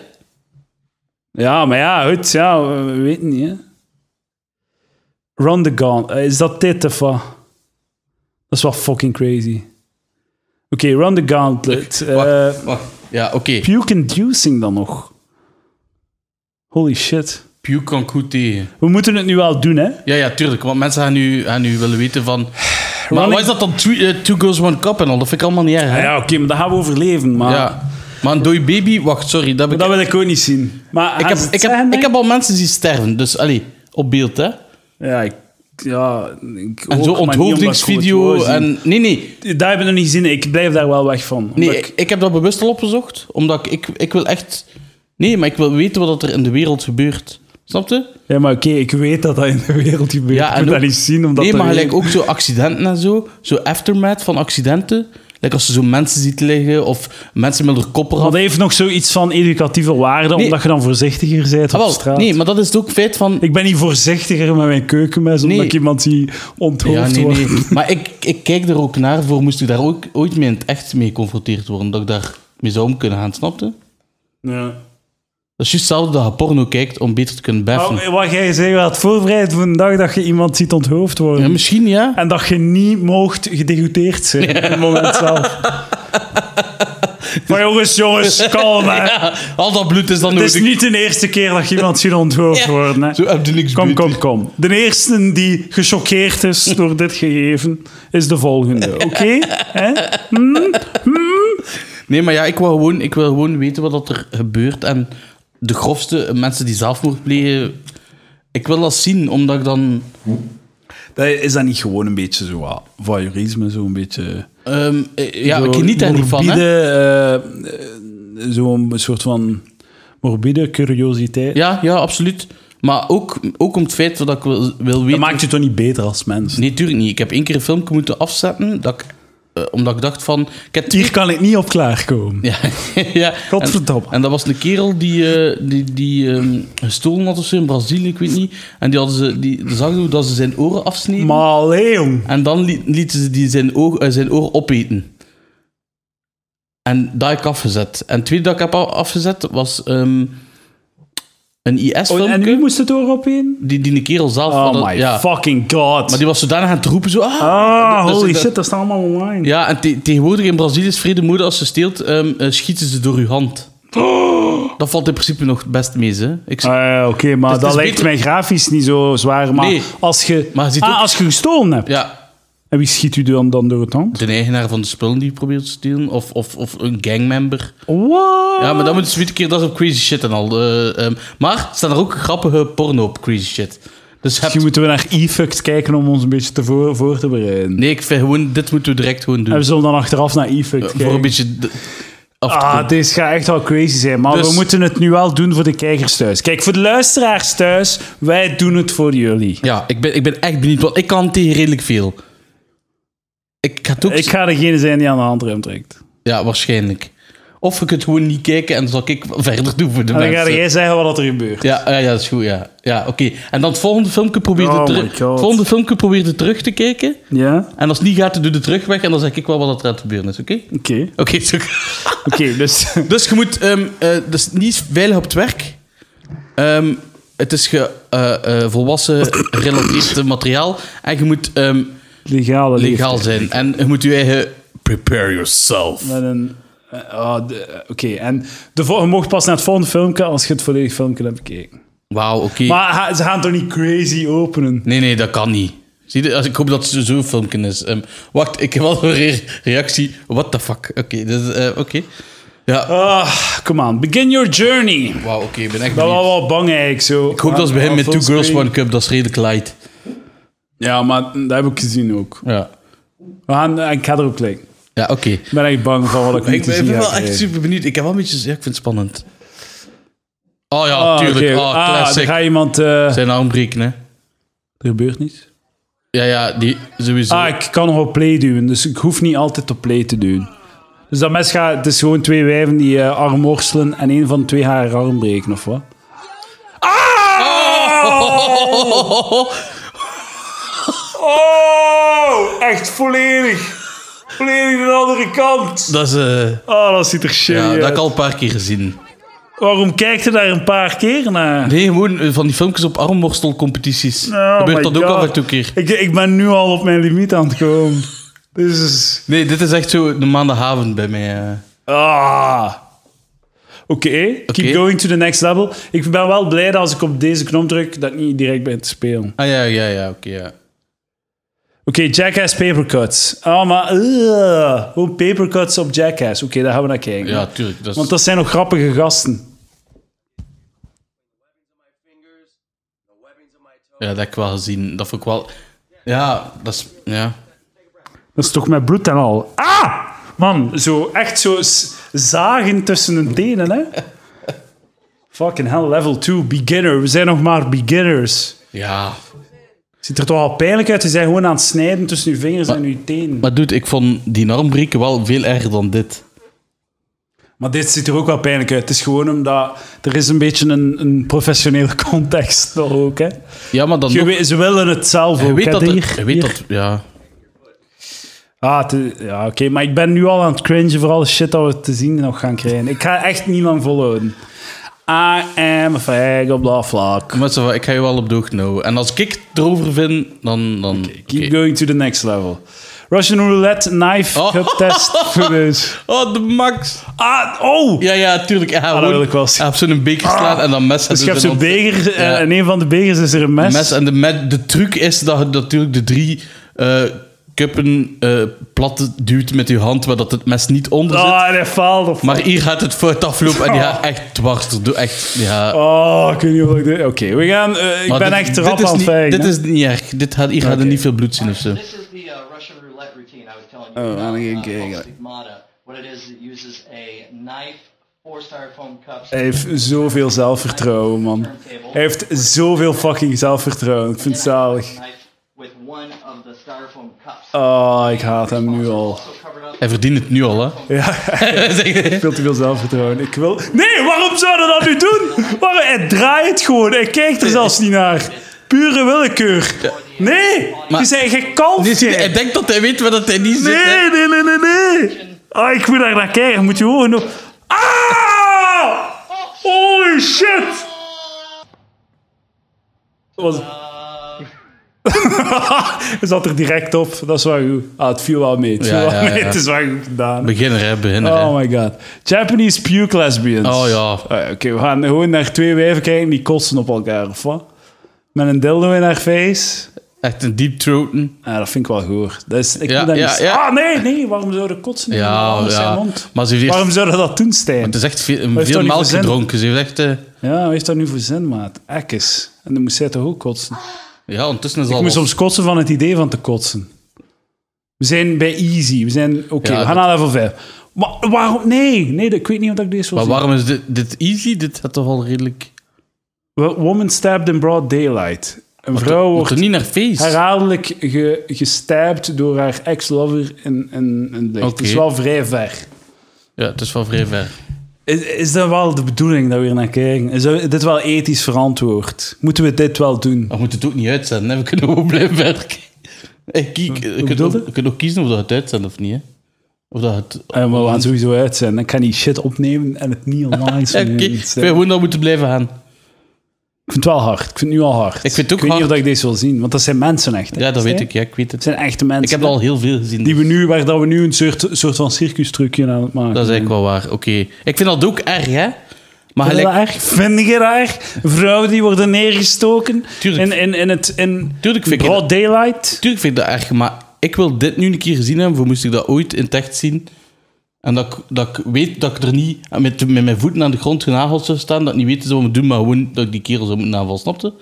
[SPEAKER 1] Ja, maar ja, goed, ja, we we weten niet, hè. Run the Gaunt. Eh, Is dat dit of wat? Dat is wel fucking crazy. Oké, Run the Gauntlet. Eh
[SPEAKER 2] Wacht, wacht. Ja, oké.
[SPEAKER 1] puke inducing dan nog. Holy shit.
[SPEAKER 2] Pew kan goed tegen.
[SPEAKER 1] We moeten het nu wel doen, hè?
[SPEAKER 2] Ja, ja, tuurlijk. Want mensen gaan nu, gaan nu willen weten van... Maar
[SPEAKER 1] Running-
[SPEAKER 2] wat is dat dan? Three, eh, two girls, one cup en al. Dat vind ik allemaal niet erg, hè?
[SPEAKER 1] Ah Ja, oké, maar dat gaan we overleven, maar...
[SPEAKER 2] Ja. Maar een dode baby... Wacht, sorry. Dat heb ik...
[SPEAKER 1] Dat wil ik ook niet zien. Maar
[SPEAKER 2] ik,
[SPEAKER 1] gaan
[SPEAKER 2] heb,
[SPEAKER 1] ze het
[SPEAKER 2] ik,
[SPEAKER 1] zeggen,
[SPEAKER 2] heb, ik
[SPEAKER 1] denk
[SPEAKER 2] heb al mensen die sterven. Dus, allee, op beeld, hè?
[SPEAKER 1] Ja, ik... Ja, ik
[SPEAKER 2] En
[SPEAKER 1] ook,
[SPEAKER 2] zo
[SPEAKER 1] maar niet omdat ik het
[SPEAKER 2] onthoofdingsvideo
[SPEAKER 1] wou zien.
[SPEAKER 2] en... Nee, nee.
[SPEAKER 1] Daar hebben we nog niet gezien. Ik blijf daar wel weg van. Omdat
[SPEAKER 2] Nee,
[SPEAKER 1] ik-
[SPEAKER 2] ik, ik heb dat bewust al opgezocht. Omdat ik, ik, ik wil echt... Nee, maar ik wil weten wat er in de wereld gebeurt. Snap je?
[SPEAKER 1] Ja, maar oké, ik weet dat dat in de wereld gebeurt. ik moet
[SPEAKER 2] ook-
[SPEAKER 1] dat niet zien, omdat...
[SPEAKER 2] Nee,
[SPEAKER 1] dat
[SPEAKER 2] maar
[SPEAKER 1] weer-
[SPEAKER 2] gelijk ook zo accidenten en zo. Zo aftermath van accidenten. Like als je zo mensen ziet liggen of mensen met hun koppen
[SPEAKER 1] Maar
[SPEAKER 2] hadden.
[SPEAKER 1] dat heeft nog zoiets van educatieve waarde,
[SPEAKER 2] Nee.
[SPEAKER 1] omdat je dan voorzichtiger bent op straat.
[SPEAKER 2] Ah, nee, maar dat is het ook feit van...
[SPEAKER 1] Ik ben niet voorzichtiger met mijn keukenmes, omdat
[SPEAKER 2] Nee.
[SPEAKER 1] ik iemand die onthoofd
[SPEAKER 2] ja, nee,
[SPEAKER 1] wordt.
[SPEAKER 2] nee. Maar ik, ik kijk er ook naar voor moest ik daar ook ooit mee in het echt mee geconfronteerd worden. Dat ik daar mee zou om kunnen gaan, snapte?
[SPEAKER 1] Ja.
[SPEAKER 2] Dat is juist hetzelfde dat je porno kijkt om beter te kunnen beffen.
[SPEAKER 1] Oh, wat jij zei, je had voorbereid voor een dag dat je iemand ziet onthoofd worden.
[SPEAKER 2] ja, misschien ja.
[SPEAKER 1] En dat je niet mocht gedegoteerd zijn op het moment zelf. Maar jongens, jongens, kalm hè.
[SPEAKER 2] Al dat bloed is dan
[SPEAKER 1] Het is
[SPEAKER 2] nodig.
[SPEAKER 1] niet de eerste keer dat je iemand ziet onthoofd
[SPEAKER 2] Ja.
[SPEAKER 1] worden. Hè.
[SPEAKER 2] Zo heb je niks
[SPEAKER 1] Kom,
[SPEAKER 2] bloed.
[SPEAKER 1] kom, kom. De eerste die gechoqueerd is door dit gegeven, is de volgende. Oké? Hè?
[SPEAKER 2] Nee, maar ja, ik wil gewoon, ik wil gewoon weten wat dat er gebeurt. En de grofste mensen die zelfmoord plegen, ik wil dat zien, omdat ik dan.
[SPEAKER 1] Dat is dat niet gewoon een beetje zo wat voyeurisme, zo'n beetje...
[SPEAKER 2] ehm, eh, ja,
[SPEAKER 1] zo
[SPEAKER 2] ik geniet daar niet van. Hè?
[SPEAKER 1] morbide, eh, eh, Zo'n soort van morbide curiositeit.
[SPEAKER 2] Ja, ja, absoluut. Maar ook, ook om het feit dat ik wil, wil
[SPEAKER 1] Dat
[SPEAKER 2] weten.
[SPEAKER 1] maakt je toch niet beter als mens?
[SPEAKER 2] Nee, tuurlijk niet. Ik heb één keer een filmpje moeten afzetten, dat ik, eh, omdat ik dacht van. Ik heb
[SPEAKER 1] Hier kan ik niet op klaarkomen.
[SPEAKER 2] Ja, ja.
[SPEAKER 1] Godverdomme.
[SPEAKER 2] En, en dat was een kerel die, eh, die, die ehm, gestolen had of zo in Brazilië, ik weet niet. En die, hadden ze, die zag hoe dat ze zijn oren afsneden.
[SPEAKER 1] Maar allee, jong.
[SPEAKER 2] En dan liet- lieten ze die zijn, oog, eh, zijn oor opeten. En dat heb ik afgezet. En het tweede dat ik heb a- afgezet was ehm, een
[SPEAKER 1] Oh, en
[SPEAKER 2] IS-filmpje.
[SPEAKER 1] nu moest het door op in?
[SPEAKER 2] die, die een kerel zelf had.
[SPEAKER 1] Oh
[SPEAKER 2] het-
[SPEAKER 1] my
[SPEAKER 2] ja.
[SPEAKER 1] fucking god.
[SPEAKER 2] Maar die was zodanig aan het roepen. Zo, ah,
[SPEAKER 1] Ah,
[SPEAKER 2] Dus
[SPEAKER 1] holy
[SPEAKER 2] dat-
[SPEAKER 1] shit, dat staat allemaal online.
[SPEAKER 2] Ja, en te- tegenwoordig in Brazilië is vrede moeder als ze steelt, ehm, eh, schieten ze door uw hand. Dat valt in principe nog het best mee, hè. Ik,
[SPEAKER 1] Ah, ja, Oké, maar
[SPEAKER 2] Dus het
[SPEAKER 1] dat
[SPEAKER 2] is
[SPEAKER 1] lijkt
[SPEAKER 2] beter-
[SPEAKER 1] mij grafisch niet zo zwaar. Maar
[SPEAKER 2] Nee,
[SPEAKER 1] als je,
[SPEAKER 2] maar je ziet
[SPEAKER 1] Ah,
[SPEAKER 2] ook-
[SPEAKER 1] als je gestolen hebt,
[SPEAKER 2] ja.
[SPEAKER 1] En wie schiet u dan, dan door het hand?
[SPEAKER 2] De eigenaar van de spullen die je probeert te stelen. Of, of, of een gangmember.
[SPEAKER 1] What?
[SPEAKER 2] Ja, maar dan moet je zoiets een keer, dat is op crazy shit en al. eh, ehm, maar staan er ook grappige porno op crazy shit. Dus heb
[SPEAKER 1] Misschien moeten we naar e-fucked kijken om ons een beetje te voor, voor te bereiden.
[SPEAKER 2] Nee, ik vind gewoon, dit moeten we direct gewoon doen.
[SPEAKER 1] En we zullen dan achteraf naar e-fucked kijken.
[SPEAKER 2] Eh, voor een beetje de- af te
[SPEAKER 1] Ah,
[SPEAKER 2] komen.
[SPEAKER 1] deze gaat echt wel crazy zijn. Maar
[SPEAKER 2] Dus-
[SPEAKER 1] we moeten het nu wel doen voor de kijkers thuis. Kijk, voor de luisteraars thuis, wij doen het voor jullie.
[SPEAKER 2] Ja, ik ben, ik ben echt benieuwd, want ik kan tegen redelijk veel. Ik ga het ook...
[SPEAKER 1] Ik ga degene zijn die aan de handrem trekt.
[SPEAKER 2] Ja, waarschijnlijk. Of ik het gewoon niet kijken en dan zal ik verder doen voor de
[SPEAKER 1] En Oh, dan ga
[SPEAKER 2] mensen.
[SPEAKER 1] jij zeggen wat er gebeurt.
[SPEAKER 2] Ja, ah, ja, ja, dat is goed, ja. Ja, oké. En dan het volgende filmpje probeer je
[SPEAKER 1] Oh
[SPEAKER 2] teru-
[SPEAKER 1] my God.
[SPEAKER 2] volgende filmpje probeer je terug te kijken.
[SPEAKER 1] Ja?
[SPEAKER 2] En als het niet gaat, doe de terug weg en dan zeg ik wel wat er aan het gebeuren is, oké? Oké,
[SPEAKER 1] Oké.
[SPEAKER 2] zo-
[SPEAKER 1] Oké, dus...
[SPEAKER 2] Dus je moet... ehm eh, dus niet veilig op het werk. Ehm, het is ge, eh, eh, volwassen, gerelateerd materiaal. En je moet ehm,
[SPEAKER 1] Legale
[SPEAKER 2] legaal
[SPEAKER 1] leeftijd.
[SPEAKER 2] zijn. En je moet je eigen... Prepare yourself.
[SPEAKER 1] Met een... eh, ah, de- eh, Oké, en de vol- je mocht pas naar het volgende filmpje als je het volledige filmpje hebt bekeken.
[SPEAKER 2] Wauw, oké.
[SPEAKER 1] Maar ha- ze gaan toch niet crazy openen?
[SPEAKER 2] Nee, nee, dat kan niet. Zie je, als ik hoop dat het zo'n filmpje is. Ehm, wacht, ik heb wel een re- reactie. What the fuck? Oké, dus, eh, oké. Ja,
[SPEAKER 1] Ah, come on. Begin your journey. Ik
[SPEAKER 2] wauw, oké, ik ben echt
[SPEAKER 1] ben wel,
[SPEAKER 2] benieuwd.
[SPEAKER 1] wel bang eigenlijk zo.
[SPEAKER 2] Ik hoop dat ze beginnen met Two Girls, One Cup. Dat is redelijk light.
[SPEAKER 1] Ja, maar dat heb ik gezien ook.
[SPEAKER 2] Ja,
[SPEAKER 1] We gaan, eh, ik ga erop klikken.
[SPEAKER 2] ja oké.
[SPEAKER 1] Ik ben echt bang van wat ik
[SPEAKER 2] Ik
[SPEAKER 1] niet te
[SPEAKER 2] ben, ik
[SPEAKER 1] zien
[SPEAKER 2] ben
[SPEAKER 1] ga
[SPEAKER 2] wel echt
[SPEAKER 1] krijgen.
[SPEAKER 2] super benieuwd. Ik heb wel een beetje... Ja, ik vind het spannend. Oh ja,
[SPEAKER 1] Ah,
[SPEAKER 2] tuurlijk.
[SPEAKER 1] oké.
[SPEAKER 2] Oh,
[SPEAKER 1] ah,
[SPEAKER 2] classic.
[SPEAKER 1] er gaat iemand... eh,
[SPEAKER 2] Zijn arm breken, hè.
[SPEAKER 1] Er gebeurt niets.
[SPEAKER 2] Ja, ja, die sowieso.
[SPEAKER 1] Ah, ik kan nog op play duwen, dus ik hoef niet altijd op play te duwen. Dus dat mes gaat... Het is gewoon twee wijven die eh, arm worstelen en een van de twee haar arm breken, of wat?
[SPEAKER 2] oh,
[SPEAKER 1] Oh, echt volledig. Volledig de andere kant.
[SPEAKER 2] Dat is... eh,
[SPEAKER 1] Oh, dat ziet er shit
[SPEAKER 2] ja,
[SPEAKER 1] uit.
[SPEAKER 2] dat heb ik al een paar keer gezien.
[SPEAKER 1] Waarom kijkt u daar een paar keer naar?
[SPEAKER 2] Nee, gewoon eh, van die filmpjes op armworstelcompetities.
[SPEAKER 1] Oh
[SPEAKER 2] Gebeurt
[SPEAKER 1] my
[SPEAKER 2] dat ook
[SPEAKER 1] God.
[SPEAKER 2] af en toe een keer.
[SPEAKER 1] Ik, ik ben nu al op mijn limiet aan het komen. Dit is...
[SPEAKER 2] Nee, dit is echt zo de maandagavond bij mij. eh.
[SPEAKER 1] Ah. Oké, keep going to the next level. Ik ben wel blij dat als ik op deze knop druk, dat ik niet direct ben te spelen.
[SPEAKER 2] Ah ja, ja, ja, oké. ja.
[SPEAKER 1] Oké, Jackass Papercuts. Oh, maar... ugh. Gewoon Papercuts op Jackass. Oké, daar gaan we naar kijken.
[SPEAKER 2] ja, tuurlijk. Dat is...
[SPEAKER 1] Want dat zijn nog grappige gasten.
[SPEAKER 2] Ja, dat heb ik wel gezien. Dat vond ik wel. Ja, dat is. Ja.
[SPEAKER 1] Dat is toch met bloed en al. Ah! Man, zo, echt zo s- zagen tussen hun tenen, hè? Fucking hell, level 2, beginner. We zijn nog maar beginners.
[SPEAKER 2] Ja.
[SPEAKER 1] Ziet er toch al pijnlijk uit? Ze zijn gewoon aan het snijden tussen uw vingers en uw tenen.
[SPEAKER 2] Maar dude, ik vond die armbreken wel veel erger dan dit.
[SPEAKER 1] Maar dit ziet er ook wel pijnlijk uit. Het is gewoon omdat er is een beetje een, een professionele context nog ook. Hè?
[SPEAKER 2] Ja, maar dan.
[SPEAKER 1] Je
[SPEAKER 2] nog-
[SPEAKER 1] weet- ze willen het zelf
[SPEAKER 2] je
[SPEAKER 1] ook.
[SPEAKER 2] weet
[SPEAKER 1] hè,
[SPEAKER 2] dat. er-
[SPEAKER 1] hier-
[SPEAKER 2] je weet
[SPEAKER 1] hier.
[SPEAKER 2] dat. Ja.
[SPEAKER 1] Ah, het is- ja, oké. Maar ik ben nu al aan het cringen voor alle shit dat we te zien nog gaan krijgen. Ik ga echt niet lang volhouden. I am a fag op dat vlak.
[SPEAKER 2] Maar zo, ik ga je wel op de hoogte houden. En als ik het erover vind, dan. dan
[SPEAKER 1] Keep
[SPEAKER 2] oké.
[SPEAKER 1] going to the next level. Russian roulette knife
[SPEAKER 2] Oh.
[SPEAKER 1] cup test finish.
[SPEAKER 2] Oh, de max.
[SPEAKER 1] Ah, oh!
[SPEAKER 2] Ja, ja, tuurlijk. Ja,
[SPEAKER 1] dat wil ik wel zien.
[SPEAKER 2] Hij heeft zo'n beker slaan en dan mes.
[SPEAKER 1] Dus je hebt zo'n beker eh,
[SPEAKER 2] Ja.
[SPEAKER 1] en een van de bekers is er een mes.
[SPEAKER 2] mes. En de, met, de truc is dat je natuurlijk de drie eh kuppen eh, plat duwt met je hand, maar dat het mes niet onder zit.
[SPEAKER 1] Ah, en hij faalt. Of...
[SPEAKER 2] Maar hier gaat het fout aflopen en die gaat echt dwars erdoor. Echt, ja.
[SPEAKER 1] Oh, ik weet niet of ik dit... Oké, we gaan... eh, ik
[SPEAKER 2] Maar
[SPEAKER 1] ben
[SPEAKER 2] dit-
[SPEAKER 1] echt
[SPEAKER 2] dit
[SPEAKER 1] rap
[SPEAKER 2] is
[SPEAKER 1] aan het
[SPEAKER 2] niet-
[SPEAKER 1] vijgen.
[SPEAKER 2] Dit is niet erg. Dit gaat, hier gaat er
[SPEAKER 1] Oké.
[SPEAKER 2] niet veel bloed zien of zo.
[SPEAKER 7] This is the uh, Russian roulette routine I was telling you
[SPEAKER 1] Oh,
[SPEAKER 7] about.
[SPEAKER 1] I'm gonna
[SPEAKER 7] uh,
[SPEAKER 1] get-
[SPEAKER 7] called
[SPEAKER 1] get-
[SPEAKER 7] Stigmata. What it is, it uses a knife, four styrofoam cups.
[SPEAKER 1] Hij heeft zoveel zelfvertrouwen, man. Hij heeft zoveel fucking zelfvertrouwen. Ik vind het zalig.
[SPEAKER 7] Knife with one of the styrofoam cups.
[SPEAKER 1] Oh, ik haat hem nu al.
[SPEAKER 7] Also covered up
[SPEAKER 2] Hij verdient het nu al, hè?
[SPEAKER 1] Veel te veel zelfvertrouwen. Ik wil... Nee, waarom zouden we dat nu doen? Waarom? Hij draait het gewoon. Hij kijkt er zelfs niet naar. Pure willekeur. Nee,
[SPEAKER 2] Maar-
[SPEAKER 1] je zei gekald.
[SPEAKER 2] Nee, zie je,
[SPEAKER 1] jij.
[SPEAKER 2] hij denkt dat hij weet wat dat hij niet zit. hè.
[SPEAKER 1] Nee, nee, nee, nee, nee. Ah, ik moet daar naar kijken. Moet je ogen op. Ah! Holy shit! Was... Hij zat er direct op. Dat is wel goed. Ah, het viel wel mee. Het, viel
[SPEAKER 2] Ja,
[SPEAKER 1] wel
[SPEAKER 2] ja,
[SPEAKER 1] mee.
[SPEAKER 2] ja.
[SPEAKER 1] het is wel goed gedaan.
[SPEAKER 2] Beginner, hè? Beginner, hè.
[SPEAKER 1] Oh my god. Japanese puke lesbians.
[SPEAKER 2] Oh ja.
[SPEAKER 1] Ah, Oké, we gaan gewoon naar twee wijven kijken die kotsen op elkaar, of wat? Met een dildo in haar face.
[SPEAKER 2] Echt een deep throaten.
[SPEAKER 1] Ja, Ah, dat vind ik wel goed. Dat is, ik
[SPEAKER 2] Ja,
[SPEAKER 1] moet dat
[SPEAKER 2] ja,
[SPEAKER 1] niet-
[SPEAKER 2] ja.
[SPEAKER 1] Ah, nee, nee. Waarom zou de kotsen niet
[SPEAKER 2] Ja,
[SPEAKER 1] anders
[SPEAKER 2] ja.
[SPEAKER 1] zijn mond?
[SPEAKER 2] Maar ze heeft eerst-
[SPEAKER 1] Waarom zou je dat doen, Stijn?
[SPEAKER 2] Het is echt veel,
[SPEAKER 1] heeft
[SPEAKER 2] veel
[SPEAKER 1] dat niet
[SPEAKER 2] melk
[SPEAKER 1] verzin?
[SPEAKER 2] gedronken. Ze heeft echt... eh,
[SPEAKER 1] Ja, wat heeft dat nu voor zin, maat? Ekkes. En dan moest zij toch ook kotsen?
[SPEAKER 2] Oh. ja, ondertussen is
[SPEAKER 1] Ik
[SPEAKER 2] al...
[SPEAKER 1] moest soms kotsen van het idee van te kotsen. We zijn bij easy. We zijn... Oké,
[SPEAKER 2] Ja,
[SPEAKER 1] we gaan naar level 5. Maar waarom? Nee, nee. dat- Ik weet niet wat ik deze wil
[SPEAKER 2] Maar
[SPEAKER 1] zien.
[SPEAKER 2] waarom is dit, dit easy? Dit gaat toch al redelijk...
[SPEAKER 1] Wo- Woman stabbed in broad daylight. Een vrouw
[SPEAKER 2] Moet er
[SPEAKER 1] wordt
[SPEAKER 2] niet naar face.
[SPEAKER 1] herhaaldelijk ge, gestabbed door haar ex-lover in, in, in het licht.
[SPEAKER 2] Oké.
[SPEAKER 1] Het is wel vrij ver.
[SPEAKER 2] Ja, het is wel vrij ver.
[SPEAKER 1] Is, is dat wel de bedoeling dat we hier naar kijken? Is dat- dit wel ethisch verantwoord? Moeten we dit wel doen?
[SPEAKER 2] Maar we moeten het ook niet uitzenden, hè. we kunnen gewoon blijven werken. Hey, kijk, je, kunt
[SPEAKER 1] bedoel
[SPEAKER 2] ook,
[SPEAKER 1] je?
[SPEAKER 2] je kunt ook kiezen of dat het uitzendt of niet. Hè? Of dat het...
[SPEAKER 1] Eh, maar we gaan sowieso uit zijn. Ik kan die shit opnemen en het niet online
[SPEAKER 2] Ja,
[SPEAKER 1] zetten.
[SPEAKER 2] kijk,
[SPEAKER 1] Ik
[SPEAKER 2] ik
[SPEAKER 1] vind
[SPEAKER 2] vind gewoon dat we moeten blijven gaan.
[SPEAKER 1] het wel hard. Ik vind het nu al hard.
[SPEAKER 2] Ik vind het ook
[SPEAKER 1] weet niet
[SPEAKER 2] hard.
[SPEAKER 1] of ik deze wil zien, want dat zijn mensen echt. hè,
[SPEAKER 2] Ja, dat
[SPEAKER 1] Stijn?
[SPEAKER 2] weet ik. Ja, ik weet
[SPEAKER 1] Het
[SPEAKER 2] het.
[SPEAKER 1] zijn echte mensen.
[SPEAKER 2] Ik heb er al heel veel gezien.
[SPEAKER 1] Die we
[SPEAKER 2] dus
[SPEAKER 1] nu, waar dat we nu een soort, soort van circustrucje aan het maken
[SPEAKER 2] Dat is eigenlijk wel waar. Oké. Ik vind dat ook erg, hè? Maar
[SPEAKER 1] Vind je
[SPEAKER 2] gelijk...
[SPEAKER 1] dat erg? Vind je dat erg? Vrouwen die worden neergestoken
[SPEAKER 2] Tuurlijk.
[SPEAKER 1] in, in, in, het, in
[SPEAKER 2] Tuurlijk vind ik
[SPEAKER 1] broad daylight.
[SPEAKER 2] Tuurlijk vind ik dat erg, maar ik wil dit nu een keer gezien hebben, voor moest ik dat ooit in het echt zien. En dat ik, dat ik weet dat ik er niet aan- met, met mijn voeten aan de grond genageld zou staan, dat ik niet weten zou moeten doen, maar gewoon dat ik die kerel zou moeten aanvallen, snapte?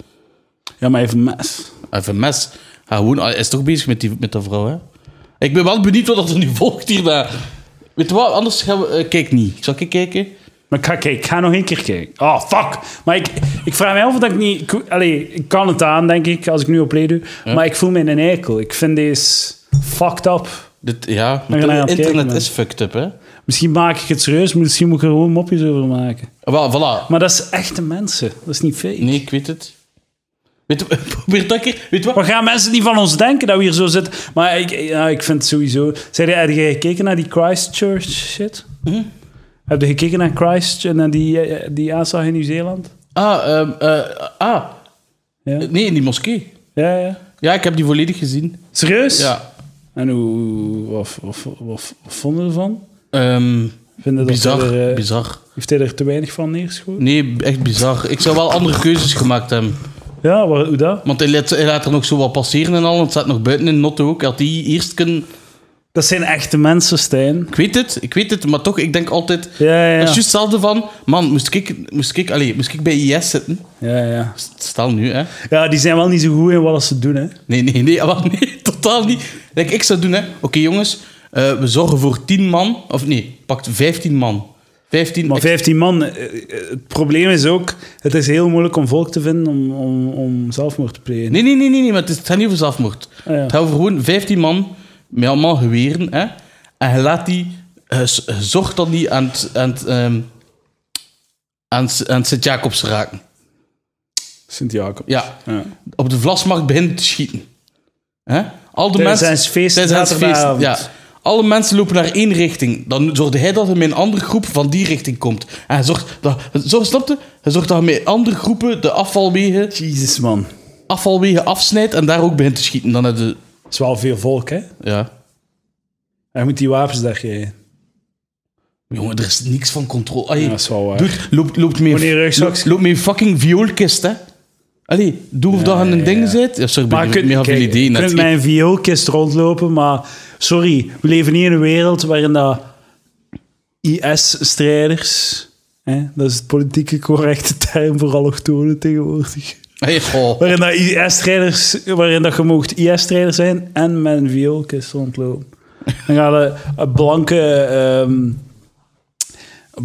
[SPEAKER 1] Ja, maar even mes.
[SPEAKER 2] Even mes. Hij gewoon, hij is toch bezig met, die, met dat vrouw, hè? Ik ben wel benieuwd wat er nu volgt hierna. Weet je wat, anders gaan we... eh, kijk niet. Zal ik kijken?
[SPEAKER 1] Maar ik ga kijken, ik ga nog één keer kijken. Oh, fuck. Maar ik, ik vraag mij af of dat ik niet... Ik, allee, ik kan het aan, denk ik, als ik nu op play doe. Maar ik voel me een eikel. Ik vind deze fucked up.
[SPEAKER 2] Dit, ja,
[SPEAKER 1] gaan we aan het
[SPEAKER 2] internet
[SPEAKER 1] kijken, man.
[SPEAKER 2] is fucked up, hè?
[SPEAKER 1] Misschien maak ik het serieus, maar misschien moet ik er gewoon mopjes over maken.
[SPEAKER 2] Wel, voilà.
[SPEAKER 1] Maar dat is echte mensen. Dat is niet fake.
[SPEAKER 2] Nee, ik weet het. Weet je, probeer dat keer... Weet je
[SPEAKER 1] Wat
[SPEAKER 2] wat?
[SPEAKER 1] gaan mensen die van ons denken dat we hier zo zitten? Maar ik, ja, ik vind het sowieso... Zeg, heb je gekeken naar die Christchurch shit?
[SPEAKER 2] Hm?
[SPEAKER 1] Heb je gekeken naar Christchurch en naar die, eh, die aanslag in Nieuw-Zeeland?
[SPEAKER 2] Ah, ehm, eh, ah.
[SPEAKER 1] Ja.
[SPEAKER 2] Nee, in die moskee.
[SPEAKER 1] Ja, ja.
[SPEAKER 2] Ja, ik heb die volledig gezien.
[SPEAKER 1] Serieus?
[SPEAKER 2] Ja.
[SPEAKER 1] En hoe, wat, wat, wat, wat vonden we ervan?
[SPEAKER 2] Ehm,
[SPEAKER 1] Vinden dat
[SPEAKER 2] bizar,
[SPEAKER 1] hij er, eh,
[SPEAKER 2] bizar.
[SPEAKER 1] Heeft hij er te weinig van neergeschoten?
[SPEAKER 2] Nee, echt bizar. Ik zou wel andere keuzes gemaakt hebben.
[SPEAKER 1] Ja, waar, hoe dat?
[SPEAKER 2] Want hij laat, hij laat er nog zo wat passeren en al. Het staat nog buiten in Notte ook. Had die eerst kunnen...
[SPEAKER 1] Dat zijn echte mensen, Stijn.
[SPEAKER 2] Ik weet het, ik weet het. Maar toch, ik denk altijd...
[SPEAKER 1] Ja, ja,
[SPEAKER 2] Dat is
[SPEAKER 1] ja.
[SPEAKER 2] juist hetzelfde van... Man, moest ik, moest ik, allez, moest ik bij IS zitten?
[SPEAKER 1] Ja, ja.
[SPEAKER 2] Stel nu, hè.
[SPEAKER 1] ja, die zijn wel niet zo goed in wat ze doen, hè.
[SPEAKER 2] Nee, nee, nee, ah, wel, nee totaal niet. Kijk, ik zou doen, hè. Oké, jongens, eh, we zorgen voor 10 man. Of nee, pakt 15 man. 15
[SPEAKER 1] Maar
[SPEAKER 2] extra-
[SPEAKER 1] 15 man, eh, eh, het probleem is ook... Het is heel moeilijk om volk te vinden om, om, om zelfmoord te plegen.
[SPEAKER 2] Nee, nee, nee, nee, nee maar het, is, het gaat niet over zelfmoord.
[SPEAKER 1] Ah, ja.
[SPEAKER 2] Het gaat over gewoon 15 man met allemaal geweren. Hè? En je laat die, eh, z- zorgt dat die aan het, aan het, ehm, aan het, aan het Sint-Jacobs raken.
[SPEAKER 1] Sint-Jacob.
[SPEAKER 2] Ja.
[SPEAKER 1] Ja.
[SPEAKER 2] Op de vlasmarkt beginnen te schieten. Hè? Al de
[SPEAKER 1] Tijdens
[SPEAKER 2] mensen.
[SPEAKER 1] zijn feest
[SPEAKER 2] tijdens zijn
[SPEAKER 1] zaterdagavond.
[SPEAKER 2] Ja. Alle mensen lopen naar één richting. Dan zorgt hij dat er met een andere groep van die richting komt. En hij zorgt dat, zo, snap je? Hij zorgt dat hij met andere groepen de afvalwegen,
[SPEAKER 1] Jezus, man.
[SPEAKER 2] afvalwegen afsnijdt en daar ook begint te schieten. Dan heb je...
[SPEAKER 1] Het is wel veel volk, hè.
[SPEAKER 2] Ja.
[SPEAKER 1] Hij moet die wapens daar geven.
[SPEAKER 2] Jongen, er is niks van controle. Allee,
[SPEAKER 1] Ja, dat is wel waar.
[SPEAKER 2] Dude, loopt, loopt mee,
[SPEAKER 1] Wanneer je rugzak-
[SPEAKER 2] loopt, loopt mee fucking vioolkist, hè. Allee, doe of dat aan een ding zit. Ja, sorry, maar
[SPEAKER 1] Maar
[SPEAKER 2] ik
[SPEAKER 1] je
[SPEAKER 2] heb
[SPEAKER 1] kunt,
[SPEAKER 2] meer
[SPEAKER 1] kijk,
[SPEAKER 2] van
[SPEAKER 1] je
[SPEAKER 2] idee.
[SPEAKER 1] kunt
[SPEAKER 2] net.
[SPEAKER 1] met een vioolkist rondlopen, maar sorry, we leven niet in een wereld waarin dat IS-strijders, hè, dat is het politieke correcte term voor allochtonen tegenwoordig,
[SPEAKER 2] Hey, goh.
[SPEAKER 1] waarin dat IS-strijders, waarin dat je mocht IS-strijder zijn en met een vioolkist rondlopen. Dan gaan we eh, blanke, ehm,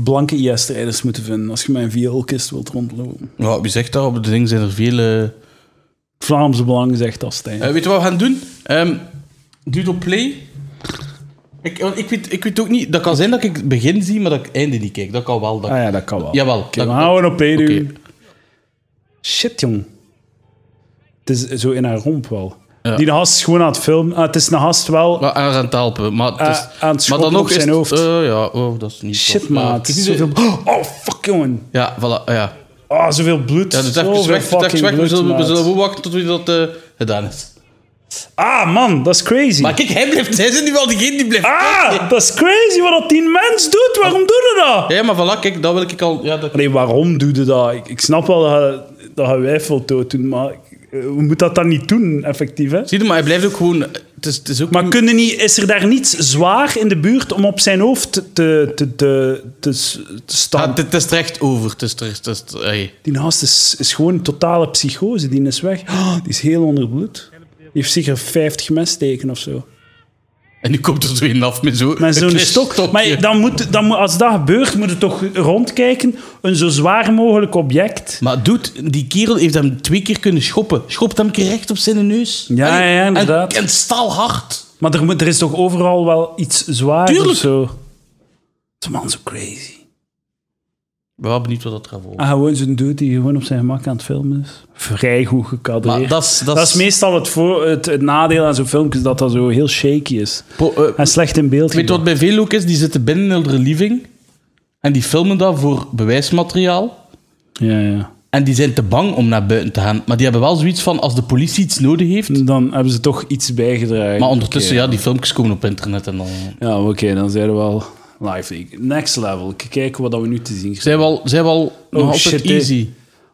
[SPEAKER 1] blanke IS-strijders moeten vinden als je met een vioolkist wilt rondlopen.
[SPEAKER 2] Ja, wie zegt dat? Op het ding zijn er vele...
[SPEAKER 1] Vlaams Belang zegt dat, Stijn.
[SPEAKER 2] Eh weet je wat we gaan doen? Ehm duw op play. Ik, want ik, weet, ik weet ook niet... Dat kan zijn dat ik het begin zie, maar dat ik het einde niet kijk. Dat kan wel. Dat...
[SPEAKER 1] Ah ja, dat kan wel.
[SPEAKER 2] Jawel.
[SPEAKER 1] Oké,
[SPEAKER 2] Dat-
[SPEAKER 1] we gaan gewoon op één
[SPEAKER 2] Oké.
[SPEAKER 1] doen. Shit, jong. Het is zo in haar romp wel. Die gast is gewoon aan het filmen. Ah, het is een gast wel...
[SPEAKER 2] Wel, aan het helpen, maar het
[SPEAKER 1] Eh,
[SPEAKER 2] is...
[SPEAKER 1] aan het
[SPEAKER 2] maar dan
[SPEAKER 1] schoppen
[SPEAKER 2] nog
[SPEAKER 1] op
[SPEAKER 2] is
[SPEAKER 1] zijn
[SPEAKER 2] het-
[SPEAKER 1] hoofd.
[SPEAKER 2] eh, ja, oh, dat is niet
[SPEAKER 1] Shit,
[SPEAKER 2] tof. Ja,
[SPEAKER 1] maat.
[SPEAKER 2] het is niet-
[SPEAKER 1] Zoveel... Oh, fuck, jongen.
[SPEAKER 2] Ja, voilà, ja.
[SPEAKER 1] Oh, zoveel bloed.
[SPEAKER 2] Ja, dus
[SPEAKER 1] Zoveel
[SPEAKER 2] even weg, dus even
[SPEAKER 1] fucking
[SPEAKER 2] weg. We
[SPEAKER 1] bloed,
[SPEAKER 2] zullen, we
[SPEAKER 1] maat.
[SPEAKER 2] zullen wel wachten tot we dat eh, gedaan is.
[SPEAKER 1] Ah, man, dat is crazy.
[SPEAKER 2] Maar kijk, hij blijft, hij is nu wel diegene die blijft
[SPEAKER 1] Ah, dat is crazy wat dat die mens doet. Waarom doe je dat?
[SPEAKER 2] Ja, maar voilà, kijk, dat wil ik al... Ja, dat...
[SPEAKER 1] Nee, waarom doe je dat? Ik, ik snap wel dat je, dat je wijf wilt dood doen, maar... we moeten dat dan niet doen, effectief. Hè?
[SPEAKER 2] Zie je, maar hij blijft ook gewoon... Het is, het is ook
[SPEAKER 1] Maar kunnen niet, is er daar niets zwaar in de buurt om op zijn hoofd te, te, te, te, te s- te staan?
[SPEAKER 2] Ah, het, het is terecht over. Het is terecht... Het is, hey.
[SPEAKER 1] Die gast is, is gewoon een totale psychose. Die is weg. Ah, die is heel onder bloed. Die heeft zeker 50 messteken of zo.
[SPEAKER 2] En nu komt er zo een af met zo'n
[SPEAKER 1] Met zo'n stok. Maar dan moet, dan moet, als dat gebeurt, moet je toch rondkijken. Een zo zwaar mogelijk object.
[SPEAKER 2] Maar dude, die kerel heeft hem twee keer kunnen schoppen. Schopt hem een keer recht op zijn neus.
[SPEAKER 1] Ja,
[SPEAKER 2] Allee,
[SPEAKER 1] ja,
[SPEAKER 2] en-
[SPEAKER 1] inderdaad.
[SPEAKER 2] En, staalhard.
[SPEAKER 1] Maar er, moet, er is toch overal wel iets zwaars
[SPEAKER 2] Tuurlijk.
[SPEAKER 1] of zo? Die man is zo crazy.
[SPEAKER 2] Ik ben wel benieuwd wat dat gaat worden.
[SPEAKER 1] Ah, gewoon zo'n dude die gewoon op zijn gemak aan het filmen is. Vrij goed
[SPEAKER 2] Maar
[SPEAKER 1] gekadreerd.
[SPEAKER 2] dat is- dat
[SPEAKER 1] Ah, dat is
[SPEAKER 2] is-
[SPEAKER 1] meestal het, voor, het, het nadeel aan zo'n filmpjes, dat dat zo heel shaky is.
[SPEAKER 2] Po- eh,
[SPEAKER 1] En slecht in beeld.
[SPEAKER 2] weet je wat bij veel ook is? Die zitten binnen in hun relieving. En die filmen dat voor bewijsmateriaal.
[SPEAKER 1] Ja, ja.
[SPEAKER 2] En die zijn te bang om naar buiten te gaan. Maar die hebben wel zoiets van, als de politie iets nodig heeft...
[SPEAKER 1] Dan hebben ze toch iets bijgedragen.
[SPEAKER 2] Maar ondertussen, ja, die filmpjes komen op internet en dan...
[SPEAKER 1] Ja, oké, dan zijn we wel live. leak. Next level. Ik Kijk wat we nu te zien krijgen.
[SPEAKER 2] Zij wel, zij wel nog altijd
[SPEAKER 1] Oh, shit, hè.
[SPEAKER 2] easy.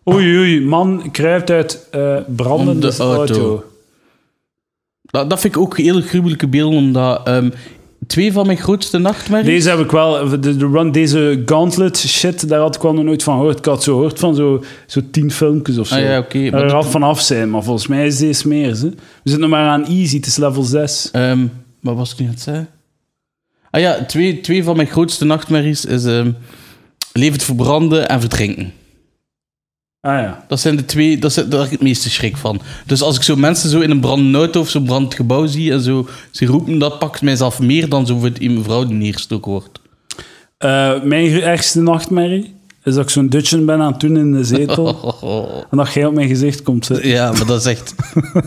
[SPEAKER 1] Oei, oei, man kruipt uit eh, brandende
[SPEAKER 2] Om de auto. Dat, dat vind ik ook heel gruwelijke beelden, omdat ehm, twee van mijn grootste nachtmerries...
[SPEAKER 1] Deze heb ik wel, de, de run, deze gauntlet shit, daar had ik wel nog nooit van gehoord. Ik had zo gehoord van zo'n zo tien filmpjes of zo.
[SPEAKER 2] Ah ja, oké,
[SPEAKER 1] Daar
[SPEAKER 2] maar
[SPEAKER 1] er
[SPEAKER 2] dat-
[SPEAKER 1] al vanaf zijn, maar volgens mij is deze meer. Hè? We zitten nog maar aan easy, het is level 6.
[SPEAKER 2] Ehm, wat was ik nu aan het zeggen? Ah ja, twee, twee van mijn grootste nachtmerries is ehm, levend verbranden en verdrinken.
[SPEAKER 1] Ah ja.
[SPEAKER 2] Dat zijn de twee, dat zijn, daar heb ik het meeste schrik van. Dus als ik zo mensen zo in een brandende auto of zo'n brandend gebouw zie en zo, ze roepen, dat pakt mijzelf meer dan zo het in mijn vrouw die neerstoken wordt.
[SPEAKER 1] Eh, mijn ergste nachtmerrie is dat ik zo'n dutchen ben aan het doen in de zetel. en dat jij op mijn gezicht komt zitten.
[SPEAKER 2] Ja, maar dat is echt...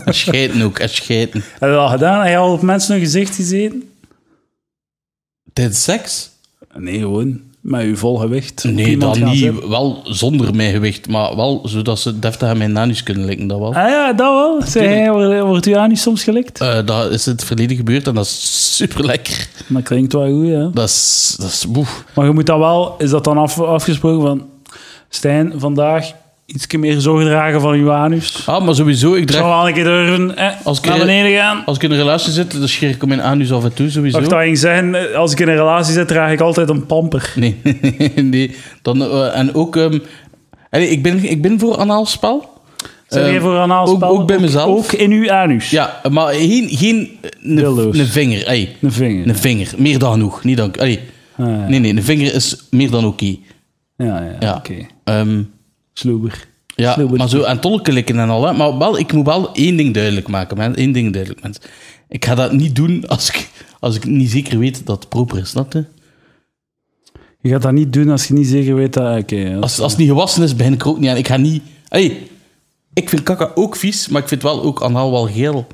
[SPEAKER 2] En scheiden ook, en scheiden.
[SPEAKER 1] Heb je dat al gedaan? Heb je al op mensen hun gezicht gezeten?
[SPEAKER 2] Tijdens seks?
[SPEAKER 1] Nee, gewoon. Met uw vol gewicht. op
[SPEAKER 2] Nee,
[SPEAKER 1] iemand
[SPEAKER 2] dan
[SPEAKER 1] gaan
[SPEAKER 2] niet.
[SPEAKER 1] zitten.
[SPEAKER 2] Wel zonder mijn gewicht, maar wel zodat ze deftig aan mijn nanus kunnen likken, dat wel.
[SPEAKER 1] Ah ja, dat wel. Zeg, hey, wordt, wordt u aan niet soms gelikt?
[SPEAKER 2] Eh, dat is in het verleden gebeurd en dat is super lekker.
[SPEAKER 1] Dat klinkt wel goed, ja.
[SPEAKER 2] Dat is, dat is oef.
[SPEAKER 1] Maar je moet dat wel, is dat dan af, afgesproken van... Stijn, vandaag iets meer zorg dragen van uw anus.
[SPEAKER 2] Ah, maar sowieso, ik
[SPEAKER 1] Zal
[SPEAKER 2] draag,
[SPEAKER 1] wel een keer durven eh,
[SPEAKER 2] Als ik
[SPEAKER 1] naar
[SPEAKER 2] in-
[SPEAKER 1] beneden gaan?
[SPEAKER 2] als ik in een relatie zit, dan scheer ik hem mijn anus af en toe, sowieso.
[SPEAKER 1] Mag ik dat ging zeggen, eh, als ik in een relatie zit, draag ik altijd een pamper.
[SPEAKER 2] Nee, nee. Dan, eh, en ook... ehm, allee, ik, ben, ik ben voor anaalspel.
[SPEAKER 1] Zijn jij
[SPEAKER 2] Ehm,
[SPEAKER 1] voor anaalspellen?
[SPEAKER 2] ook- ook bij mezelf.
[SPEAKER 1] Ook in uw anus.
[SPEAKER 2] Ja, maar geen... geen eh,
[SPEAKER 1] Dildo's.
[SPEAKER 2] een, een vinger, ey.
[SPEAKER 1] Een vinger. Ah,
[SPEAKER 2] Een vinger. Meer dan genoeg. Niet dan, allee.
[SPEAKER 1] ja.
[SPEAKER 2] Nee, nee, een vinger is meer dan oké.
[SPEAKER 1] Ja, ja,
[SPEAKER 2] Ja.
[SPEAKER 1] oké.
[SPEAKER 2] Ehm,
[SPEAKER 1] Sloeber.
[SPEAKER 2] Ja,
[SPEAKER 1] Sneeuwwitje.
[SPEAKER 2] maar zo aan tolken likken en al. Hè. Maar wel, ik moet wel één ding duidelijk maken, man. Eén ding duidelijk, mensen. Ik ga dat niet doen als ik, als ik niet zeker weet dat het proper is, snap je?
[SPEAKER 1] Je gaat dat niet doen als je niet zeker weet dat... Ah, Oké, ja.
[SPEAKER 2] Als, als het niet gewassen is, begin ik er ook niet aan. Ik ga niet... Hey, ik vind kaka ook vies, maar ik vind wel ook anaal wel geel.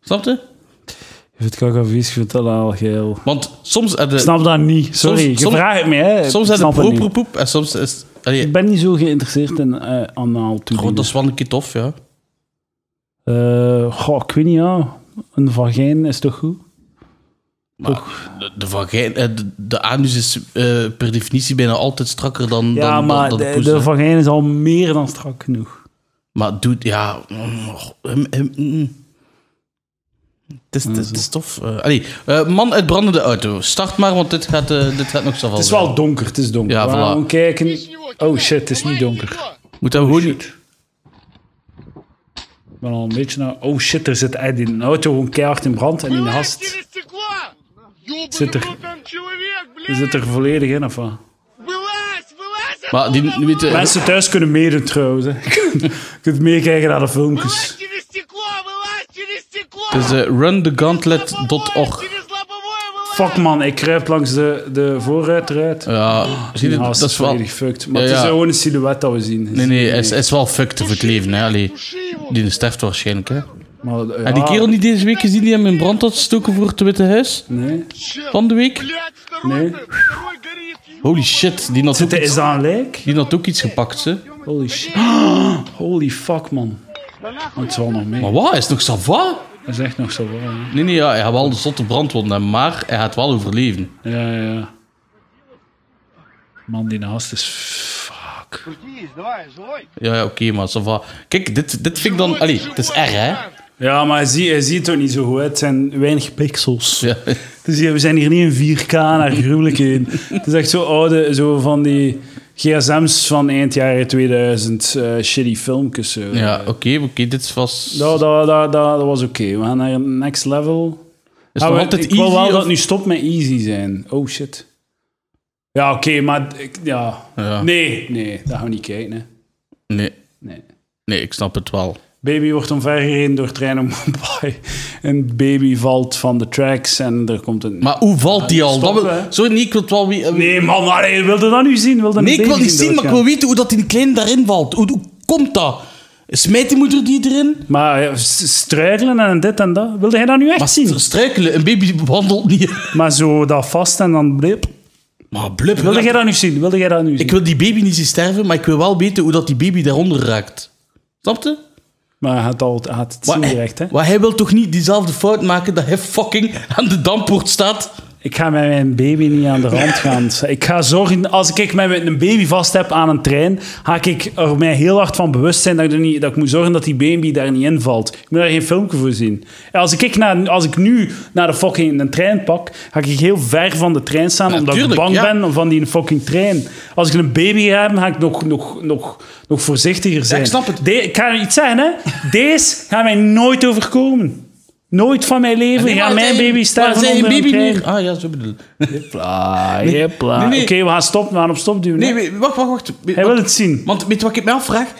[SPEAKER 2] Snap je?
[SPEAKER 1] Je vindt kaka vies, je vindt dat al geel.
[SPEAKER 2] Want soms... heb je-
[SPEAKER 1] Ik snap dat niet, sorry.
[SPEAKER 2] Soms-
[SPEAKER 1] je
[SPEAKER 2] soms-
[SPEAKER 1] vraagt het me, hè.
[SPEAKER 2] soms
[SPEAKER 1] ik
[SPEAKER 2] heb je
[SPEAKER 1] snap het niet.
[SPEAKER 2] proper poep en soms is... Allee,
[SPEAKER 1] Ik ben niet zo geïnteresseerd in eh anaal
[SPEAKER 2] goh,
[SPEAKER 1] toedienen.
[SPEAKER 2] dat is wel een keer tof, ja.
[SPEAKER 1] Eh, goh, ik weet niet, ja. Een vagijn is toch goed?
[SPEAKER 2] Maar de, de, vagijn, eh, de, de anus is eh, per definitie bijna altijd strakker dan,
[SPEAKER 1] Ja,
[SPEAKER 2] dan,
[SPEAKER 1] maar
[SPEAKER 2] dan, dan de
[SPEAKER 1] de,
[SPEAKER 2] poes,
[SPEAKER 1] de
[SPEAKER 2] hè.
[SPEAKER 1] vagijn is al meer dan strak genoeg.
[SPEAKER 2] Maar doet, ja. mm, och, mm, mm, mm. Het is, het is- het is tof. eh. allee, eh, man uit brandende auto. Start maar, want dit gaat, eh, dit gaat nog zo
[SPEAKER 1] Het is wel donker, het is donker.
[SPEAKER 2] Ja,
[SPEAKER 1] We
[SPEAKER 2] voilà.
[SPEAKER 1] gaan kijken. Oh shit, het is niet donker.
[SPEAKER 2] Moet dat gewoon niet.
[SPEAKER 1] Ik ben al een beetje naar... Oh shit, er zit echt in een auto gewoon keihard in brand en in de hast. Zit er- Zit er volledig in, of wat?
[SPEAKER 2] Maar die, die weet, je-
[SPEAKER 1] Mensen thuis kunnen meedoen trouwens. Hè. Je kunt meekijken naar de filmpjes.
[SPEAKER 2] het is eh, runthegauntlet.org.
[SPEAKER 1] Fuck man, ik kruip langs de, de voorruit eruit.
[SPEAKER 2] Ja, zie je,
[SPEAKER 1] Die
[SPEAKER 2] Eh, dat
[SPEAKER 1] haast
[SPEAKER 2] is wel.
[SPEAKER 1] volledig fucked. Maar
[SPEAKER 2] Ja,
[SPEAKER 1] het is
[SPEAKER 2] ja.
[SPEAKER 1] gewoon een silhouet dat we zien.
[SPEAKER 2] Nee, nee, het is, het is wel fucked voor het leven. Hè, allee. Die sterft waarschijnlijk. Hè.
[SPEAKER 1] Maar, ja,
[SPEAKER 2] En Ah, die kerel niet deze week gezien die hem in brand had gestoken voor het Witte Huis
[SPEAKER 1] Nee.
[SPEAKER 2] van de week?
[SPEAKER 1] nee.
[SPEAKER 2] Holy shit, die had ook
[SPEAKER 1] Is
[SPEAKER 2] iets,
[SPEAKER 1] dat een lijk?
[SPEAKER 2] die had ook iets gepakt. Hè.
[SPEAKER 1] Holy shit. Holy fuck, man. Oh, Het zal nog mee.
[SPEAKER 2] Maar wat? Is het nog Sava?
[SPEAKER 1] Dat is echt nog zo warm. hè.
[SPEAKER 2] Nee, nee, ja, hij had wel de zotte brandwonden, maar hij gaat wel overleven.
[SPEAKER 1] Ja, ja, ja. Man, die naast is... Fuck.
[SPEAKER 2] fuck. Ja, ja, oké, maar ça va. Kijk, dit, dit vind ik dan... Allee, het is R, hè?
[SPEAKER 1] Ja, maar hij ziet, hij ziet het ook niet zo goed. uit. Het zijn weinig pixels.
[SPEAKER 2] Ja.
[SPEAKER 1] Dus hier, we zijn hier niet in 4K naar gruwelijkheden. het is echt zo oude, zo van die gsm's van eind jaren 2000. eh, shitty filmpjes. zo.
[SPEAKER 2] Ja, oké, oké, dit is vast...
[SPEAKER 1] Dat, dat, dat, dat, dat was oké. We gaan naar een next level.
[SPEAKER 2] is
[SPEAKER 1] Ah,
[SPEAKER 2] nog
[SPEAKER 1] we-
[SPEAKER 2] altijd
[SPEAKER 1] ik wil
[SPEAKER 2] easy,
[SPEAKER 1] wel
[SPEAKER 2] of-
[SPEAKER 1] dat het nu stopt met easy zijn. Oh shit. Ja, oké, maar ik- ja.
[SPEAKER 2] Ja.
[SPEAKER 1] Nee, nee, dat gaan we niet kijken. Hè.
[SPEAKER 2] Nee,
[SPEAKER 1] Nee.
[SPEAKER 2] nee, ik snap het wel.
[SPEAKER 1] Baby wordt omvergereden door trein op Mumbai. En baby valt van de tracks en er komt een...
[SPEAKER 2] Maar hoe valt die al?
[SPEAKER 1] Stoppen,
[SPEAKER 2] Dat we-
[SPEAKER 1] hè?
[SPEAKER 2] Sorry, nee, ik wil het wel... wie- eh,
[SPEAKER 1] Nee, man, allee, wilde dat nu zien? Wilde
[SPEAKER 2] Nee,
[SPEAKER 1] een
[SPEAKER 2] ik wil
[SPEAKER 1] baby
[SPEAKER 2] niet zien, maar ik wil weten hoe dat die kleine daarin valt. Hoe, hoe komt dat? Smijt die moeder die erin?
[SPEAKER 1] Maar eh, s- struikelen en dit en dat. Wilde hij dat nu echt
[SPEAKER 2] Maar
[SPEAKER 1] zien?
[SPEAKER 2] struikelen, een baby wandelt niet.
[SPEAKER 1] Maar zo dat vast en dan blip.
[SPEAKER 2] Maar blub.
[SPEAKER 1] Wilde jij dat nu zien? Wilde jij dat nu zien?
[SPEAKER 2] Ik wil die baby niet zien sterven, maar ik wil wel weten hoe dat die baby daaronder raakt. Snap je?
[SPEAKER 1] Maar hij had, al, hij had het zien
[SPEAKER 2] Maar,
[SPEAKER 1] direct, hè?
[SPEAKER 2] maar hij wil toch niet diezelfde fout maken dat hij fucking aan de dampoort staat?
[SPEAKER 1] Ik ga met mijn baby niet aan de rand gaan. Ik ga zorgen, als ik mij met een baby vast heb aan een trein, ga ik er mij heel hard van bewust zijn dat ik, er niet, dat ik moet zorgen dat die baby daar niet in valt. Ik moet daar geen filmpje voor zien. En Als ik, naar, als ik nu naar de fucking een trein pak, ga ik heel ver van de trein staan, omdat
[SPEAKER 2] tuurlijk,
[SPEAKER 1] ik bang
[SPEAKER 2] ja.
[SPEAKER 1] ben van die fucking trein. Als ik een baby ga hebben, ga ik nog, nog, nog, nog voorzichtiger zijn.
[SPEAKER 2] snap het.
[SPEAKER 1] De- ik ga iets zeggen, hè. Deze gaat mij nooit overkomen. Nooit van mijn leven
[SPEAKER 2] Nee,
[SPEAKER 1] gaat
[SPEAKER 2] maar
[SPEAKER 1] mijn
[SPEAKER 2] zijn-
[SPEAKER 1] baby sterven
[SPEAKER 2] maar zijn
[SPEAKER 1] onder een
[SPEAKER 2] baby
[SPEAKER 1] trein.
[SPEAKER 2] meer? Ah ja, zo bedoel ik.
[SPEAKER 1] Hopla, hopla.
[SPEAKER 2] nee, nee.
[SPEAKER 1] Ah, Oké, we gaan stoppen. We gaan op stop duwen.
[SPEAKER 2] Nee,
[SPEAKER 1] hè?
[SPEAKER 2] we- wacht, wacht, wacht.
[SPEAKER 1] Hij wil het zien.
[SPEAKER 2] Want weet je wat ik me afvraag?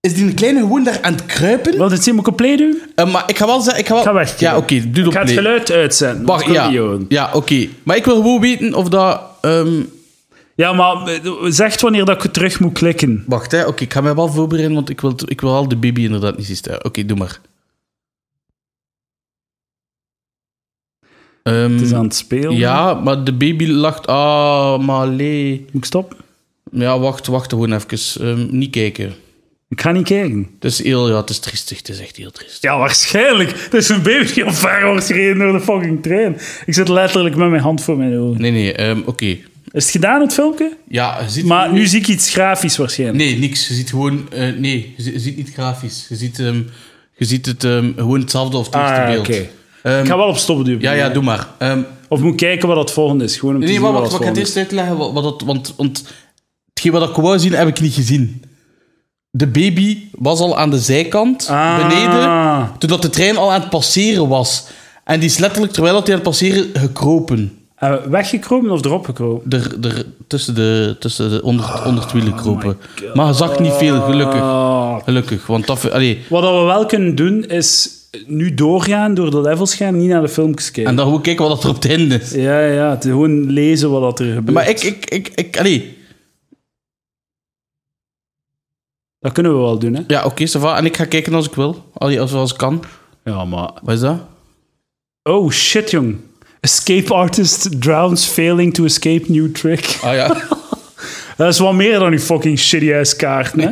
[SPEAKER 2] Is die kleine gewoon daar aan het kruipen?
[SPEAKER 1] Wil je het zien? Moet ik op play doen? Ik
[SPEAKER 2] Eh, maar ik ga wel zeggen... Ik ga, wel...
[SPEAKER 1] ga weg.
[SPEAKER 2] Ja, oké, doe op
[SPEAKER 1] Ik ga het
[SPEAKER 2] play.
[SPEAKER 1] geluid uitzetten.
[SPEAKER 2] Wacht,
[SPEAKER 1] Ik wil
[SPEAKER 2] ja.
[SPEAKER 1] niet horen.
[SPEAKER 2] Ja, oké. Maar ik wil gewoon weten of dat... ehm,
[SPEAKER 1] Ja, maar eh, zeg wanneer dat ik terug moet klikken.
[SPEAKER 2] Wacht, hè. Oké, ik ga mij wel voorbereiden, want ik wil, ik wil al de baby inderdaad niet zien sterven. Oké, doe maar. Ehm,
[SPEAKER 1] Het is aan het spelen.
[SPEAKER 2] ja, maar de baby lacht... Ah, maar lee.
[SPEAKER 1] Moet ik stoppen?
[SPEAKER 2] Ja, wacht, wacht gewoon even. Ehm, niet kijken.
[SPEAKER 1] Ik ga niet kijken.
[SPEAKER 2] Het is heel... Ja, het is triestig. Het is echt heel triest.
[SPEAKER 1] Ja, waarschijnlijk. Het is een baby die omver wordt gereden door de fucking trein. Ik zit letterlijk met mijn hand voor mijn ogen.
[SPEAKER 2] Nee, nee, ehm, oké.
[SPEAKER 1] Is het gedaan, het filmpje?
[SPEAKER 2] Ja, je ziet...
[SPEAKER 1] Maar
[SPEAKER 2] gewoon-
[SPEAKER 1] nu zie ik iets grafisch waarschijnlijk.
[SPEAKER 2] Nee, niks. Je ziet gewoon... eh, nee, je, zi- je ziet niet grafisch. Je ziet, ehm, je ziet het ehm, gewoon hetzelfde of het eerste
[SPEAKER 1] Ah,
[SPEAKER 2] beeld.
[SPEAKER 1] oké.
[SPEAKER 2] Ehm,
[SPEAKER 1] Ik ga wel op stop duwen.
[SPEAKER 2] Ja, ja, doe maar. Ehm,
[SPEAKER 1] Of moet ik kijken wat het volgende is. Gewoon om te
[SPEAKER 2] Nee,
[SPEAKER 1] zien
[SPEAKER 2] maar
[SPEAKER 1] wat
[SPEAKER 2] wacht,
[SPEAKER 1] het
[SPEAKER 2] wacht, ik ga het
[SPEAKER 1] volgende
[SPEAKER 2] eerst uitleggen. Wat, wat dat, want, want hetgeen wat ik wou zien, heb ik niet gezien. De baby was al aan de zijkant,
[SPEAKER 1] Ah.
[SPEAKER 2] beneden, toen dat de trein al aan het passeren was. En die is letterlijk, terwijl dat die aan het passeren, gekropen.
[SPEAKER 1] is. Eh, weggekropen of erop gekropen?
[SPEAKER 2] Er, er, tussen de, tussen de onder, onder het wiel gekropen. maar je zag niet veel, gelukkig.
[SPEAKER 1] Ah,
[SPEAKER 2] Gelukkig, want dat... Allee,
[SPEAKER 1] Wat dat we wel kunnen doen, is nu doorgaan door de levels gaan, niet naar de filmpjes kijken.
[SPEAKER 2] en dan gewoon kijken wat dat er op het einde is.
[SPEAKER 1] Ja, ja, het is gewoon lezen wat dat er gebeurt.
[SPEAKER 2] Maar ik, ik, ik, ik... Allee,
[SPEAKER 1] Dat kunnen we wel doen, hè?
[SPEAKER 2] ja, oké, ça va. En ik ga kijken als ik wil. Allee, als, als ik kan.
[SPEAKER 1] Ja, maar...
[SPEAKER 2] Wat is dat?
[SPEAKER 1] Oh, shit, jong. Escape artist drowns failing to escape new trick.
[SPEAKER 2] Ah ja.
[SPEAKER 1] Dat is wel meer dan uw fucking shitty-ass kaart, hè?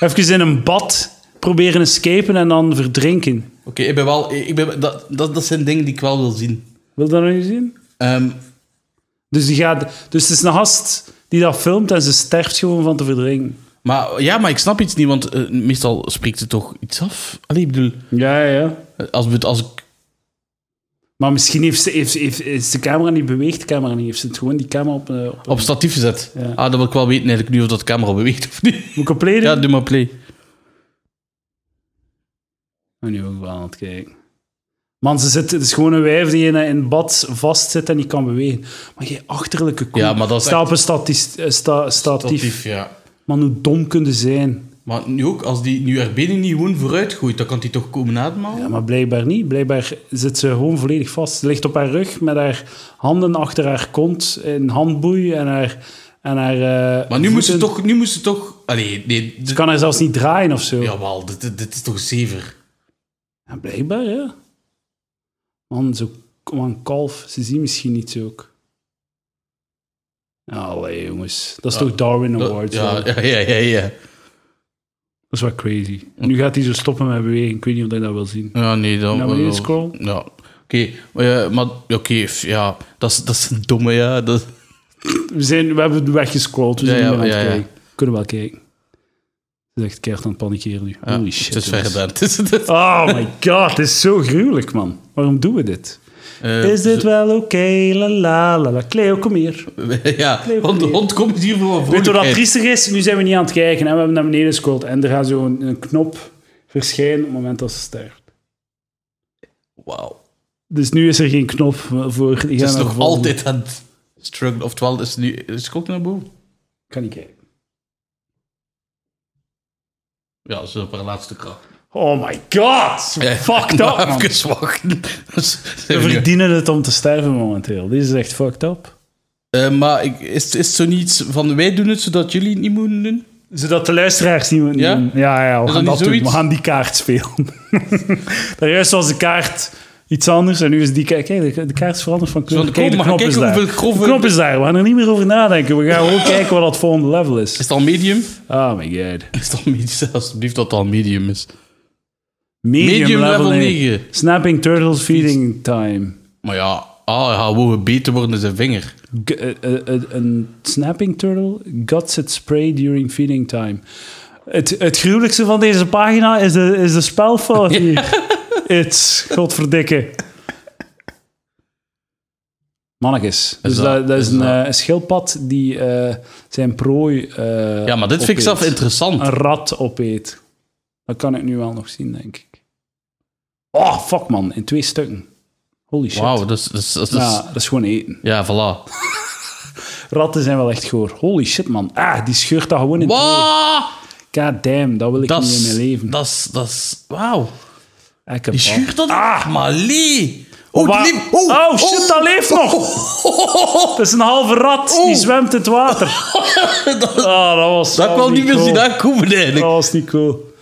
[SPEAKER 1] Even in een bad proberen escapen en dan verdrinken.
[SPEAKER 2] Oké, ik ben wel. Ik ben, dat, dat, dat zijn dingen die ik wel wil zien.
[SPEAKER 1] Wil dat nog eens zien?
[SPEAKER 2] Ehm,
[SPEAKER 1] Dus, die gaat, dus het is een gast die dat filmt en ze sterft gewoon van te verdrinken.
[SPEAKER 2] maar ja, maar ik snap iets niet, want eh, meestal spreekt het toch iets af. Allee, ik bedoel,
[SPEAKER 1] Ja, ja.
[SPEAKER 2] eh, als, we- als ik.
[SPEAKER 1] Maar misschien heeft ze, heeft, heeft, is de camera niet beweegt, de camera niet. Heeft ze het gewoon die camera op... eh, op-
[SPEAKER 2] Op statief gezet. Ah, dat wil ik wel weten eigenlijk nu of dat de camera beweegt of niet.
[SPEAKER 1] Moet ik op play doen?
[SPEAKER 2] Ja, doe maar play.
[SPEAKER 1] Maar Oh, nu ook wel aan het kijken. Man, ze zit, het is gewoon een wijf die in, in het bad vastzit en die kan bewegen. Maar jij achterlijke koe.
[SPEAKER 2] Ja, maar dat is
[SPEAKER 1] Sta op een statist, eh, sta, statief.
[SPEAKER 2] ja.
[SPEAKER 1] Man, hoe dom kunnen zijn.
[SPEAKER 2] Maar nu ook, als die nu haar benen niet gewoon vooruit gooit, dan kan die toch komen ademhalen?
[SPEAKER 1] Ja, maar blijkbaar niet. Blijkbaar zit ze gewoon volledig vast. Ze ligt op haar rug met haar handen achter haar kont in handboei en haar... En haar eh,
[SPEAKER 2] Maar nu moest ze
[SPEAKER 1] voeten.
[SPEAKER 2] toch. Nu moest ze toch. Allee, nee.
[SPEAKER 1] Ze
[SPEAKER 2] Dit,
[SPEAKER 1] kan haar zelfs niet draaien of zo.
[SPEAKER 2] jawel, dit, dit, dit is toch zever.
[SPEAKER 1] Ja, blijkbaar, ja. Man, zo kom aan kalf. Ze zien misschien niets ook. Ah, Allee, jongens. Dat is toch Darwin Award?
[SPEAKER 2] Ja,
[SPEAKER 1] zo.
[SPEAKER 2] ja, ja, ja, ja.
[SPEAKER 1] Dat is wel crazy. Nu gaat hij zo stoppen met bewegen. Ik weet niet of ik dat wil zien.
[SPEAKER 2] Ja, nee, dan...
[SPEAKER 1] Naar beneden scrollen?
[SPEAKER 2] Ja. Oké, maar, ja, maar oké, f- ja, dat is, dat is een domme, ja. Dat,
[SPEAKER 1] We, zijn, we hebben het weggescrolld. We
[SPEAKER 2] ja,
[SPEAKER 1] zijn
[SPEAKER 2] ja,
[SPEAKER 1] niet meer aan
[SPEAKER 2] ja,
[SPEAKER 1] het
[SPEAKER 2] ja.
[SPEAKER 1] kijken. Kunnen we wel kijken. Het is echt keihard aan het panikeren nu.
[SPEAKER 2] Ja,
[SPEAKER 1] Holy shit.
[SPEAKER 2] het is ver
[SPEAKER 1] jongens.
[SPEAKER 2] gedaan. Het is- het is-
[SPEAKER 1] Oh my god, het is zo gruwelijk, man. Waarom doen we dit?
[SPEAKER 2] Eh,
[SPEAKER 1] Is dit wel oké? La la la la. Cleo, kom hier.
[SPEAKER 2] Ja, want de hond komt hier voor
[SPEAKER 1] Weet je wat dat
[SPEAKER 2] vrolijkheid.
[SPEAKER 1] triestig is? Nu zijn we niet aan het kijken en we hebben naar beneden gescrollt. En er gaat zo'n een knop verschijnen op het moment dat ze sterft.
[SPEAKER 2] Wauw.
[SPEAKER 1] Dus nu is er geen knop voor...
[SPEAKER 2] Het is nog altijd aan het struggelen. Oftewel, is het nu... Is het ook naar boven?
[SPEAKER 1] Ik kan niet kijken.
[SPEAKER 2] Ja, dat is op haar laatste kracht.
[SPEAKER 1] Oh my god! Fucked up, man.
[SPEAKER 2] Even wachten. Dus-
[SPEAKER 1] Ze verdienen het om te sterven momenteel. Dit is echt fucked up.
[SPEAKER 2] Eh, maar ik, is, is het zo niets van wij doen het zodat jullie het niet moeten doen?
[SPEAKER 1] Zodat de luisteraars niet moeten
[SPEAKER 2] Ja?
[SPEAKER 1] doen. Ja, ja, we
[SPEAKER 2] dat
[SPEAKER 1] gaan
[SPEAKER 2] niet
[SPEAKER 1] dat doen. We
[SPEAKER 2] zoiets?
[SPEAKER 1] gaan die kaart spelen. Daarjuist was de kaart iets anders en nu is die kaart... Kijk, de, de kaart is veranderd van kleur.
[SPEAKER 2] Van de
[SPEAKER 1] Kijk, de
[SPEAKER 2] kom, maar
[SPEAKER 1] knop
[SPEAKER 2] kijk
[SPEAKER 1] is
[SPEAKER 2] hoeveel
[SPEAKER 1] daar.
[SPEAKER 2] grove-
[SPEAKER 1] De knop is daar. We gaan er niet meer over nadenken. We gaan gewoon kijken wat dat volgende level
[SPEAKER 2] Is
[SPEAKER 1] is.
[SPEAKER 2] het al medium?
[SPEAKER 1] Oh my god.
[SPEAKER 2] Is het al medium? Alsjeblieft dat het al medium is.
[SPEAKER 1] Medium,
[SPEAKER 2] Medium
[SPEAKER 1] level
[SPEAKER 2] level
[SPEAKER 1] 9.
[SPEAKER 2] negen.
[SPEAKER 1] Snapping turtles feeding time.
[SPEAKER 2] Maar ja, ah, hij gaat gewoon gebeten worden in zijn vinger.
[SPEAKER 1] G- eh, eh, eh, een snapping turtle guts its prey during feeding time. Het, het gruwelijkste van deze pagina is de, is de spelfout hier. It's, godverdikke. Mannekes. Dus
[SPEAKER 2] dat-
[SPEAKER 1] dat, dat is
[SPEAKER 2] is
[SPEAKER 1] een
[SPEAKER 2] dat-
[SPEAKER 1] eh, een schildpad die eh, zijn prooi eh,
[SPEAKER 2] Ja, maar dit vind ik zelf
[SPEAKER 1] opeet.
[SPEAKER 2] interessant.
[SPEAKER 1] Een rat opeet. Dat kan ik nu wel nog zien, denk ik. Oh, fuck man. In twee stukken. Holy shit.
[SPEAKER 2] Wauw, dus, dat is... Dat is, dat is-
[SPEAKER 1] Ja, dat is gewoon eten.
[SPEAKER 2] Ja, voilà.
[SPEAKER 1] Ratten zijn wel echt goor. Holy shit, man. Ah, die scheurt dat gewoon in twee.
[SPEAKER 2] Wauw!
[SPEAKER 1] God damn, dat wil ik
[SPEAKER 2] Dat
[SPEAKER 1] niet in
[SPEAKER 2] is...
[SPEAKER 1] mijn leven.
[SPEAKER 2] Dat is... Dat is... Wauw.
[SPEAKER 1] Ah, ik heb
[SPEAKER 2] Die
[SPEAKER 1] al-
[SPEAKER 2] schuurt dat? Ah, maar Lee!
[SPEAKER 1] Oh,
[SPEAKER 2] Oh,
[SPEAKER 1] wa-
[SPEAKER 2] het liep- oh,
[SPEAKER 1] Oh, shit, dat leeft nog.
[SPEAKER 2] nog!
[SPEAKER 1] Dat is een halve rat, die
[SPEAKER 2] Oh.
[SPEAKER 1] zwemt in het water. Ah, dat was
[SPEAKER 2] Dat
[SPEAKER 1] wel
[SPEAKER 2] kwam niet meer
[SPEAKER 1] cool.
[SPEAKER 2] zien aankomen, eigenlijk.
[SPEAKER 1] Dat was niet cool.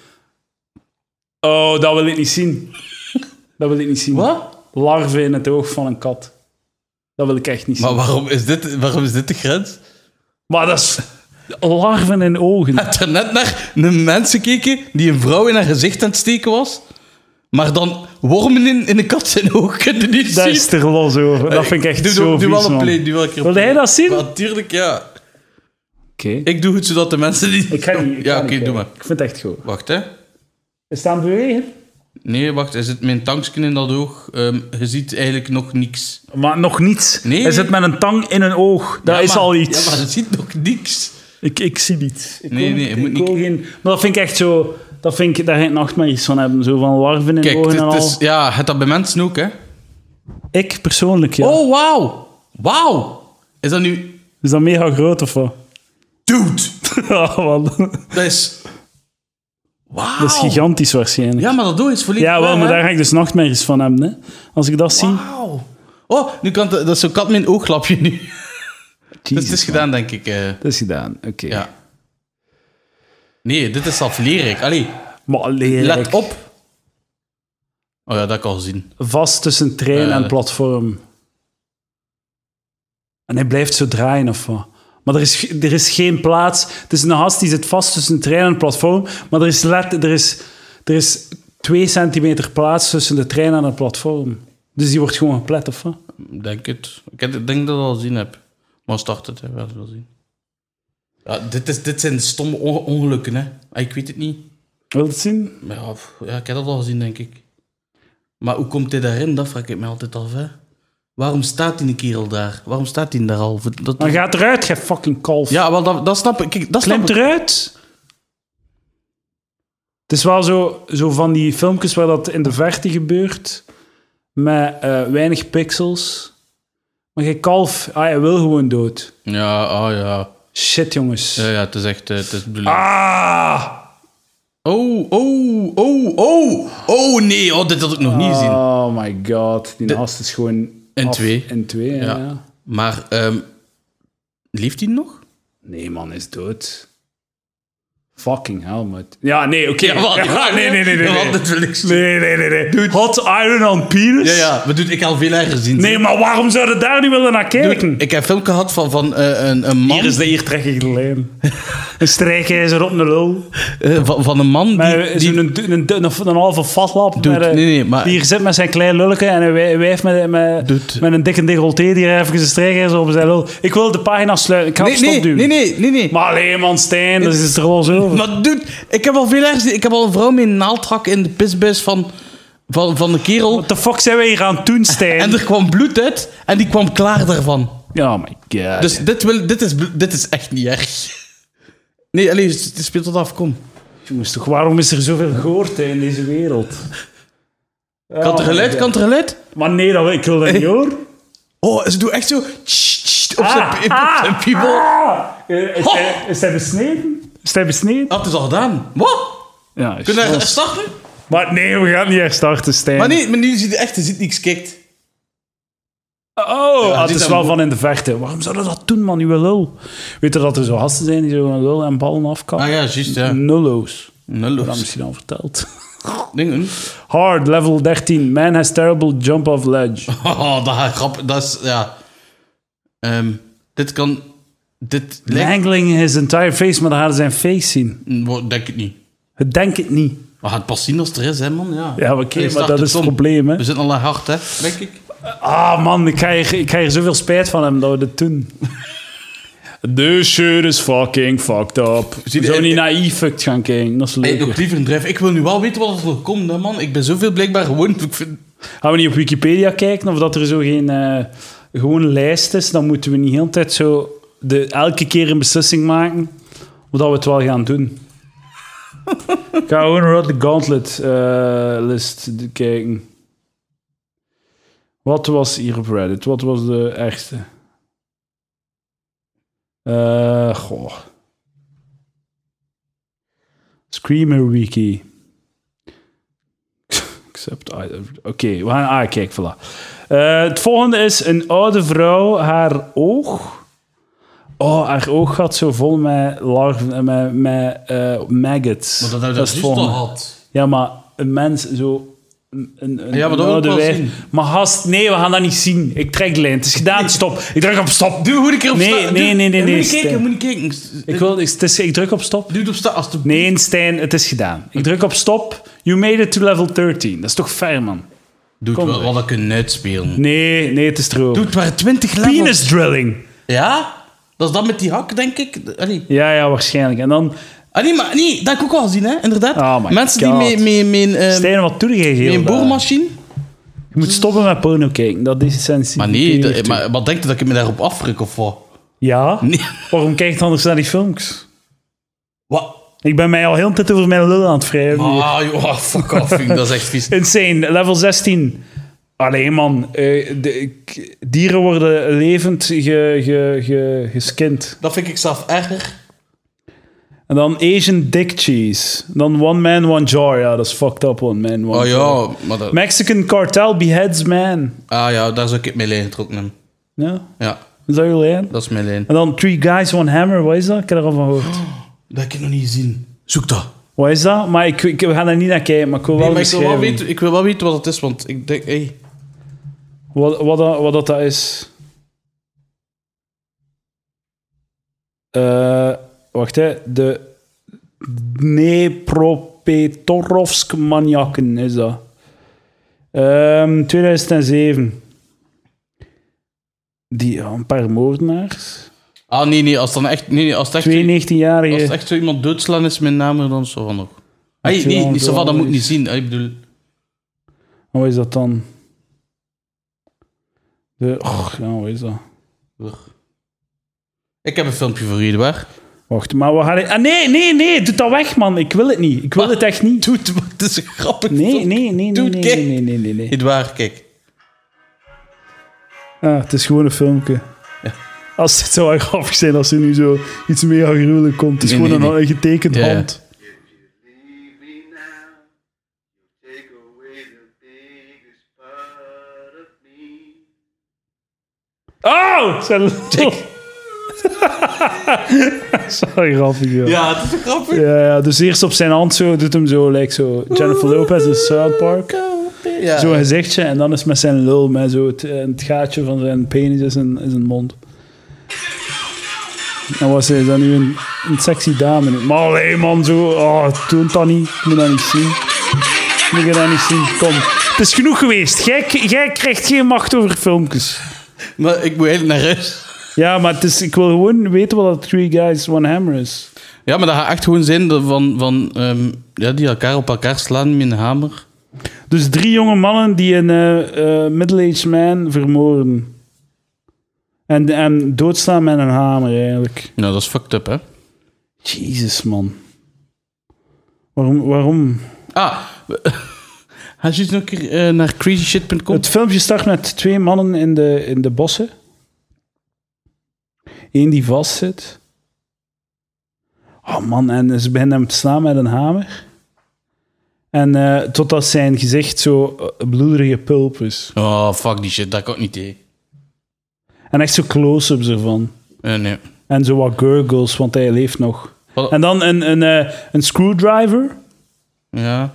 [SPEAKER 1] Oh, dat wil ik niet zien. Dat wil ik niet zien.
[SPEAKER 2] Wat?
[SPEAKER 1] Larven in het oog van een kat. Dat wil ik echt niet zien.
[SPEAKER 2] Maar
[SPEAKER 1] Maar,
[SPEAKER 2] waarom is dit, waarom is dit de grens?
[SPEAKER 1] dat is... Larven in ogen.
[SPEAKER 2] Ik heb net naar een mens gekeken die een vrouw in haar gezicht aan het steken was. Maar dan wormen in, in de kat zijn oog kunnen niet
[SPEAKER 1] Daar
[SPEAKER 2] zien.
[SPEAKER 1] is er los over. Dat vind ik echt
[SPEAKER 2] doe,
[SPEAKER 1] zo
[SPEAKER 2] doe, doe
[SPEAKER 1] vies,
[SPEAKER 2] wel een
[SPEAKER 1] man.
[SPEAKER 2] play, doe wel een keer
[SPEAKER 1] Wil
[SPEAKER 2] een
[SPEAKER 1] jij
[SPEAKER 2] play.
[SPEAKER 1] dat zien?
[SPEAKER 2] Maar Natuurlijk, ja.
[SPEAKER 1] Oké.
[SPEAKER 2] Ik doe het zodat de mensen die...
[SPEAKER 1] Ik ga niet. ik
[SPEAKER 2] ja,
[SPEAKER 1] ga
[SPEAKER 2] oké,
[SPEAKER 1] niet kijken.
[SPEAKER 2] doe maar.
[SPEAKER 1] Ik vind het echt goed.
[SPEAKER 2] Wacht, hè.
[SPEAKER 1] Is het aan het bewegen?
[SPEAKER 2] Nee, wacht. Is het mijn tankje in dat oog? Ehm, je ziet eigenlijk nog niks.
[SPEAKER 1] Maar nog niets.
[SPEAKER 2] Nee.
[SPEAKER 1] Hij zit met een tang in een oog. Dat
[SPEAKER 2] Ja,
[SPEAKER 1] is
[SPEAKER 2] maar-
[SPEAKER 1] al iets.
[SPEAKER 2] Ja, maar je ziet nog niks.
[SPEAKER 1] ik, ik zie niets. Ik
[SPEAKER 2] Nee,
[SPEAKER 1] wil-
[SPEAKER 2] nee, je moet
[SPEAKER 1] ik
[SPEAKER 2] niet-
[SPEAKER 1] wil geen- Maar dat vind ik echt zo... Dat vind ik... Daar ga ik nachtmerries van hebben. Zo van larven in de
[SPEAKER 2] Kijk,
[SPEAKER 1] ogen
[SPEAKER 2] het,
[SPEAKER 1] en
[SPEAKER 2] het
[SPEAKER 1] al.
[SPEAKER 2] is, ja, het dat bij mensen ook, hè.
[SPEAKER 1] Ik persoonlijk, ja.
[SPEAKER 2] Oh, wauw. Wauw. Is dat nu...
[SPEAKER 1] Is dat mega groot of wat?
[SPEAKER 2] Dude.
[SPEAKER 1] ja, man.
[SPEAKER 2] Dat is... Wauw.
[SPEAKER 1] Dat is gigantisch waarschijnlijk. Ja,
[SPEAKER 2] Ja, maar dat doe is volledig
[SPEAKER 1] wel,
[SPEAKER 2] waar,
[SPEAKER 1] maar
[SPEAKER 2] hè.
[SPEAKER 1] daar ga ik dus nachtmerries van hebben. Hè. Als ik dat zie...
[SPEAKER 2] Wauw. Oh, nu kan het, dat is zo'n kat met een ooglapje nu. Dus
[SPEAKER 1] Jezus,
[SPEAKER 2] het is
[SPEAKER 1] man.
[SPEAKER 2] gedaan, denk ik. eh,
[SPEAKER 1] Dat is gedaan, oké.
[SPEAKER 2] ja. Nee, dit is aflerig. Allee,
[SPEAKER 1] Maar leer
[SPEAKER 2] let
[SPEAKER 1] ik.
[SPEAKER 2] op. Oh ja, dat kan zien.
[SPEAKER 1] vast tussen trein
[SPEAKER 2] Eh.
[SPEAKER 1] en platform. En hij blijft zo draaien of wat. Maar er is, ge- er is geen plaats. Het is een gast die zit vast tussen trein en platform. Maar er is, let, er is, er is twee centimeter plaats tussen de trein en het platform. Dus die wordt gewoon geplet of wat.
[SPEAKER 2] Denk het. Ik heb- ik denk dat ik dat al zien heb. Maar start het, hè. we gaan het wel zien. Ja, dit, is, dit zijn stomme on- ongelukken, hè. Ah, Ik weet het niet.
[SPEAKER 1] Wil je het zien?
[SPEAKER 2] Maar ja, pff, ja, ik heb dat al gezien, denk ik. Maar hoe komt hij daarin? Dat vraag ik me altijd af, hè. Waarom staat die kerel daar? Waarom staat die daar al? Dat,
[SPEAKER 1] Maar gaat eruit, gij fucking kalf.
[SPEAKER 2] Ja, wel, dat, dat snap ik. Kijk, dat snap
[SPEAKER 1] Klimt
[SPEAKER 2] ik.
[SPEAKER 1] eruit. Het is wel zo, zo van die filmpjes waar dat in de verte gebeurt. Met eh, weinig pixels. Maar je kalf, ah, hij wil gewoon dood.
[SPEAKER 2] Ja, ah ja.
[SPEAKER 1] Shit, jongens.
[SPEAKER 2] Ja, ja, het is echt... eh, Het is bedoeling.
[SPEAKER 1] Ah!
[SPEAKER 2] Oh, oh, oh, oh. Oh, nee. Oh, dit had ik nog niet gezien.
[SPEAKER 1] Oh my god. Die naast is gewoon...
[SPEAKER 2] In
[SPEAKER 1] af-
[SPEAKER 2] twee.
[SPEAKER 1] In twee, ja.
[SPEAKER 2] Ja.
[SPEAKER 1] ja.
[SPEAKER 2] Maar, ehm leeft hij nog?
[SPEAKER 1] Nee, man, is dood. Fucking hell, mate. Ja, nee, oké.
[SPEAKER 2] Ja, wat?
[SPEAKER 1] Ja, nee, nee, nee, nee.
[SPEAKER 2] Ja,
[SPEAKER 1] nee.
[SPEAKER 2] wat? Dat wil ik zien.
[SPEAKER 1] Nee, nee, nee, nee. Hot iron on penis?
[SPEAKER 2] Ja, ja, maar dude, ik heb al veel erger gezien.
[SPEAKER 1] Nee, maar waarom zouden daar niet willen naar kijken?
[SPEAKER 2] Ik heb een film gehad van, van eh, een, een man.
[SPEAKER 1] hier is de hier trek ik de lijn. Een strijkijzer op een lul.
[SPEAKER 2] eh, van, van een man
[SPEAKER 1] Maar
[SPEAKER 2] die.
[SPEAKER 1] is
[SPEAKER 2] die
[SPEAKER 1] een, een, een, een, een halve vatlap.
[SPEAKER 2] Dude,
[SPEAKER 1] met een-
[SPEAKER 2] nee, nee, maar-
[SPEAKER 1] Die hier zit met zijn klein lulke en een wij- wijf met,
[SPEAKER 2] Dude.
[SPEAKER 1] met, met een dikke decolleté die er even een strijkijzer op zijn lul. Ik wil de pagina sluiten. Ik ga
[SPEAKER 2] nee,
[SPEAKER 1] op stop
[SPEAKER 2] nee,
[SPEAKER 1] duwen.
[SPEAKER 2] nee, nee, nee, nee.
[SPEAKER 1] Maar alleen man, Stijn, dat is er wel zo.
[SPEAKER 2] Maar dude, ik heb al veel erger gezien. Ik heb al een vrouw met een naaldhak in de pisbus van, van, van de kerel.
[SPEAKER 1] Wat de fuck zijn wij hier aan het doen, Stijn?
[SPEAKER 2] En er kwam bloed uit en die kwam klaar daarvan.
[SPEAKER 1] Oh my god.
[SPEAKER 2] Dus dit, wil, dit, is, bl- dit is echt niet erg. Nee, alleen speelt dat af, kom.
[SPEAKER 1] Jongens, toch, waarom is er zoveel gehoord in deze wereld? Oh,
[SPEAKER 2] Kan er geluid, kan er geluid?
[SPEAKER 1] Maar nee, dat, wil- ik wil dat
[SPEAKER 2] Eh.
[SPEAKER 1] niet hoor.
[SPEAKER 2] Oh, ze doen echt zo... tsch, tsch, Op zijn
[SPEAKER 1] Ah,
[SPEAKER 2] pi- op
[SPEAKER 1] ah,
[SPEAKER 2] zijn piemel.
[SPEAKER 1] Eh, Is, hij, is hij besneden? Is hij besneden?
[SPEAKER 2] Dat is al gedaan. Wat?
[SPEAKER 1] Ja, is-
[SPEAKER 2] Oh. Kunnen we daar starten?
[SPEAKER 1] Maar nee, we gaan niet herstarten, Stijn.
[SPEAKER 2] Maar nee, maar nu ziet hij echt, hij ziet niks kikt.
[SPEAKER 1] Oh, ah, het
[SPEAKER 2] dit
[SPEAKER 1] is
[SPEAKER 2] is
[SPEAKER 1] wel
[SPEAKER 2] een-
[SPEAKER 1] van in de vechten. Waarom zouden dat doen, man? Uw lul. Weet je dat er zo gasten zijn die zo een lul en ballen afkappen?
[SPEAKER 2] Ah ja, juist, ja.
[SPEAKER 1] Nullo's. Dat
[SPEAKER 2] Nulloos.
[SPEAKER 1] misschien al verteld.
[SPEAKER 2] Dingen.
[SPEAKER 1] Hard, level 13. Man has terrible jump off ledge.
[SPEAKER 2] Oh, dat grap, dat is, ja. Ehm, dit kan... Dit lijkt...
[SPEAKER 1] Mangling his entire face, maar dan hadden zijn face zien.
[SPEAKER 2] Wo- Denk ik niet.
[SPEAKER 1] Ik Denk het niet.
[SPEAKER 2] We gaan het pas zien als het er is, hè, man. Ja,
[SPEAKER 1] Ja, oké,
[SPEAKER 2] Hey,
[SPEAKER 1] maar
[SPEAKER 2] start
[SPEAKER 1] dat
[SPEAKER 2] het,
[SPEAKER 1] is het
[SPEAKER 2] kom.
[SPEAKER 1] probleem, hè.
[SPEAKER 2] We zitten al aan hard, hè, denk ik.
[SPEAKER 1] Ah man, ik krijg, ik krijg zoveel spijt van hem dat we dit doen. This shit is fucking fucked up.
[SPEAKER 2] Zie je- eh,
[SPEAKER 1] Zo niet naïef fucked gaan kijken, dat is
[SPEAKER 2] Hey,
[SPEAKER 1] leuk.
[SPEAKER 2] nog liever een drijf. Ik wil nu wel weten wat er komt, hè, man. Ik ben zoveel blijkbaar gewoon. Ik vind...
[SPEAKER 1] Gaan we niet op Wikipedia kijken of dat er zo geen eh, gewoon lijst is? Dan moeten we niet de hele tijd zo de, elke keer een beslissing maken of dat we het wel gaan doen. ik ga gewoon Rod the Gauntlet eh, list d- kijken. Wat was hier op Reddit? Wat was de ergste? Eh goh. Screamer Wiki. Except I- Oké, we gaan... Ah, kijk, voilà. Eh, het volgende is een oude vrouw, haar oog... Oh, haar oog gaat zo vol met larven en met, met eh, maggots.
[SPEAKER 2] Maar Oh, dat hebben we
[SPEAKER 1] is
[SPEAKER 2] juist
[SPEAKER 1] het
[SPEAKER 2] al
[SPEAKER 1] volgende.
[SPEAKER 2] gehad.
[SPEAKER 1] Ja, maar een mens zo... Een, een,
[SPEAKER 2] Ja, maar
[SPEAKER 1] een
[SPEAKER 2] dat wil ik
[SPEAKER 1] oude
[SPEAKER 2] wel
[SPEAKER 1] wijf-
[SPEAKER 2] zien.
[SPEAKER 1] Maar gast, nee, we gaan dat niet zien. Ik trek de lijn. Het is gedaan, stop. Ik druk op stop.
[SPEAKER 2] Doe, moet ik erop
[SPEAKER 1] Nee,
[SPEAKER 2] staan?
[SPEAKER 1] nee,
[SPEAKER 2] Doe-
[SPEAKER 1] nee, nee, nee,
[SPEAKER 2] Moet je kijken,
[SPEAKER 1] Stijn.
[SPEAKER 2] moet je kijken.
[SPEAKER 1] Ik, wil, ik, het is, ik druk op stop.
[SPEAKER 2] Duw op staan als de.
[SPEAKER 1] Nee, Stijn, het is gedaan. Ik druk op stop. You made it to level 13. Dat is toch fair, man?
[SPEAKER 2] Doe
[SPEAKER 1] Kom
[SPEAKER 2] het wel,
[SPEAKER 1] terug.
[SPEAKER 2] wat ik kan uitspelen.
[SPEAKER 1] Nee, nee, het is droog.
[SPEAKER 2] Doe het maar 20 levels.
[SPEAKER 1] Penis drilling.
[SPEAKER 2] Ja? Dat is dat met die hak, denk ik. Allee.
[SPEAKER 1] Ja, ja, waarschijnlijk. En dan,
[SPEAKER 2] Ah, nee, maar nee, dat heb ik ook wel gezien, hè? Inderdaad.
[SPEAKER 1] Oh my
[SPEAKER 2] Mensen
[SPEAKER 1] God.
[SPEAKER 2] die met mijn ehm
[SPEAKER 1] Stijn, wat doe jij
[SPEAKER 2] met
[SPEAKER 1] heel
[SPEAKER 2] een
[SPEAKER 1] daar?
[SPEAKER 2] boormachine.
[SPEAKER 1] Je moet stoppen met porno kijken, dat is essentie.
[SPEAKER 2] Maar nee, dat- maar wat denk je dat ik me daarop afruk of wat?
[SPEAKER 1] Ja?
[SPEAKER 2] Nee.
[SPEAKER 1] Waarom kijkt anders naar die films?
[SPEAKER 2] Wat?
[SPEAKER 1] Ik ben mij al heel de tijd over mijn lul aan het wrijven. hier.
[SPEAKER 2] Ah, joh, fuck off, vind ik, dat is echt vies.
[SPEAKER 1] Insane, level 16. Alleen man, eh, de, k- dieren worden levend ge, ge, ge, geskind.
[SPEAKER 2] Dat vind ik zelf erger.
[SPEAKER 1] En dan Asian dick cheese. Dan one man, one jar. Ja, dat is fucked up, one man, one
[SPEAKER 2] Oh
[SPEAKER 1] jar.
[SPEAKER 2] ja, maar dat,
[SPEAKER 1] Mexican cartel beheads man.
[SPEAKER 2] ah, ja, daar zou ik het mee lijn getrokken hebben.
[SPEAKER 1] Ja,
[SPEAKER 2] Ja,
[SPEAKER 1] is dat je lijn?
[SPEAKER 2] dat is mijn lijn.
[SPEAKER 1] En dan Three Guys, One Hammer, wat is dat? Ik heb er al van gehoord.
[SPEAKER 2] Dat heb ik nog niet gezien. Zoek dat.
[SPEAKER 1] Wat is dat? Maar ik, ik, we gaan daar niet naar kijken, maar ik wil wel
[SPEAKER 2] Nee, maar ik, wil wel
[SPEAKER 1] beschrijven
[SPEAKER 2] weten, ik wil wel weten wat het is, want ik denk... Hey.
[SPEAKER 1] wat, wat, dat- wat dat dat is. Eh, wacht, hè. De Dnepropetrovsk maniakken is dat. Ehm, 2007. Die, ja, een paar moordenaars.
[SPEAKER 2] Ah, nee, nee, als, dan echt, nee, nee, als, het echt, zo- als het
[SPEAKER 1] 92-jarige.
[SPEAKER 2] echt zo iemand doodslaan is met namen, dan zo van nog. Hey,
[SPEAKER 1] Echt
[SPEAKER 2] nee,
[SPEAKER 1] wel,
[SPEAKER 2] niet zo van, dat
[SPEAKER 1] wel
[SPEAKER 2] moet ik niet
[SPEAKER 1] iets.
[SPEAKER 2] zien. Hey, Ik bedoel...
[SPEAKER 1] Wat is dat dan? De, och, ja, wat is dat?
[SPEAKER 2] Ik heb een filmpje voor jullie, waar?
[SPEAKER 1] Wacht, maar we gaan... Ah, nee, nee, nee, doe dat weg, man. Ik wil het niet. Ik wil het echt niet.
[SPEAKER 2] Doe het, maar het is een grappig.
[SPEAKER 1] Nee,
[SPEAKER 2] filmpje.
[SPEAKER 1] nee, nee, nee,
[SPEAKER 2] Doe
[SPEAKER 1] nee,
[SPEAKER 2] het,
[SPEAKER 1] nee,
[SPEAKER 2] kijk.
[SPEAKER 1] nee, nee, nee, nee.
[SPEAKER 2] Edouard, kijk.
[SPEAKER 1] Ah, het is gewoon een filmpje. Als het zou wel grappig zijn als er nu zo iets mega gruwelijk komt. Het is
[SPEAKER 2] Nee,
[SPEAKER 1] gewoon
[SPEAKER 2] nee,
[SPEAKER 1] een
[SPEAKER 2] nee.
[SPEAKER 1] getekend
[SPEAKER 2] Ja, ja.
[SPEAKER 1] hand.
[SPEAKER 8] Leave me now. You take away the biggest part of me.
[SPEAKER 1] Oh! Zijn lul. Sorry, grappig, joh. Ja.
[SPEAKER 2] Ja, het is grappig.
[SPEAKER 1] ja, dus eerst op zijn hand zo, doet hem zo, like zo Jennifer Lopez in South Park.
[SPEAKER 2] Ja.
[SPEAKER 1] Zo'n gezichtje en dan is met zijn lul, met zo het, eh, het gaatje van zijn penis in zijn, in zijn mond. En was hij dan nu een, een sexy dame? Maar alleen man, zo, oh, toont dat niet. Ik moet dat niet zien. Ik moet dat niet zien. Kom. Het is genoeg geweest. Jij, jij krijgt geen macht over filmpjes.
[SPEAKER 2] Maar ik moet eigenlijk naar huis.
[SPEAKER 1] Ja, maar het is, ik wil gewoon weten wat dat Three Guys One Hammer is.
[SPEAKER 2] Ja, maar dat gaat echt gewoon zijn dat van, van ehm, ja, die elkaar op elkaar slaan met een hamer.
[SPEAKER 1] Dus drie jonge mannen die een eh, eh, middle-aged man vermoorden. En, en doodslaan met een hamer, eigenlijk.
[SPEAKER 2] Nou, dat is fucked up, hè?
[SPEAKER 1] Jezus, man. Waarom? waarom?
[SPEAKER 2] Ah, ga je eens nog een keer eh, naar crazyshit.com?
[SPEAKER 1] Het filmpje start met twee mannen in de, in de bossen. Eén die vastzit. Oh man, en ze beginnen hem te slaan met een hamer. En eh, totdat zijn gezicht zo eh, bloederige pulp is.
[SPEAKER 2] Oh, fuck die shit, dat kan ik niet tegen.
[SPEAKER 1] En echt zo close-ups ervan.
[SPEAKER 2] Eh, nee.
[SPEAKER 1] En zo wat gurgles, want hij leeft nog.
[SPEAKER 2] Wat-
[SPEAKER 1] En dan een, een, eh, een screwdriver
[SPEAKER 2] Ja.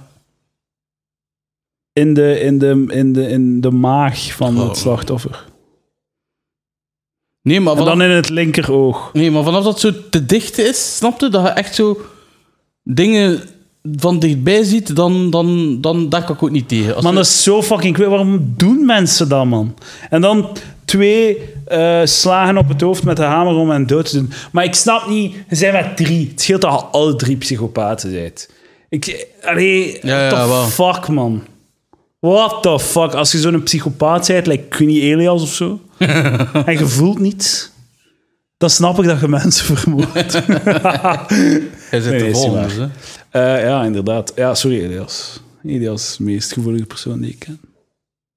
[SPEAKER 1] in de, in, de, in, de, in de maag van
[SPEAKER 2] Oh.
[SPEAKER 1] het slachtoffer.
[SPEAKER 2] Nee maar,
[SPEAKER 1] En
[SPEAKER 2] vanaf,
[SPEAKER 1] dan in het linkeroog.
[SPEAKER 2] nee, maar vanaf dat zo te dicht is, snapte dat je echt zo dingen van dichtbij ziet, dan, dan, dan daar kan ik ook niet tegen. Als
[SPEAKER 1] Man,
[SPEAKER 2] we-
[SPEAKER 1] dat is zo fucking kwijt. Waarom doen mensen dat, man? En dan twee eh, slagen op het hoofd met de hamer om hen dood te doen. Maar ik snap niet, ze zijn met drie. Het scheelt dat je alle drie psychopaten bent. Ik, allee,
[SPEAKER 2] Ja, ja,
[SPEAKER 1] what the
[SPEAKER 2] wel.
[SPEAKER 1] fuck, man? What the fuck? Als je zo'n psychopaat bent, like Queenie Elias of zo, en je voelt niets, dan snap ik dat je mensen vermoordt.
[SPEAKER 2] Hij zit
[SPEAKER 1] Nee,
[SPEAKER 2] te
[SPEAKER 1] is
[SPEAKER 2] vol,
[SPEAKER 1] niet
[SPEAKER 2] dus, hè.
[SPEAKER 1] Eh, ja, inderdaad. Ja, sorry, Elias. Elias is de meest gevoelige persoon die ik ken.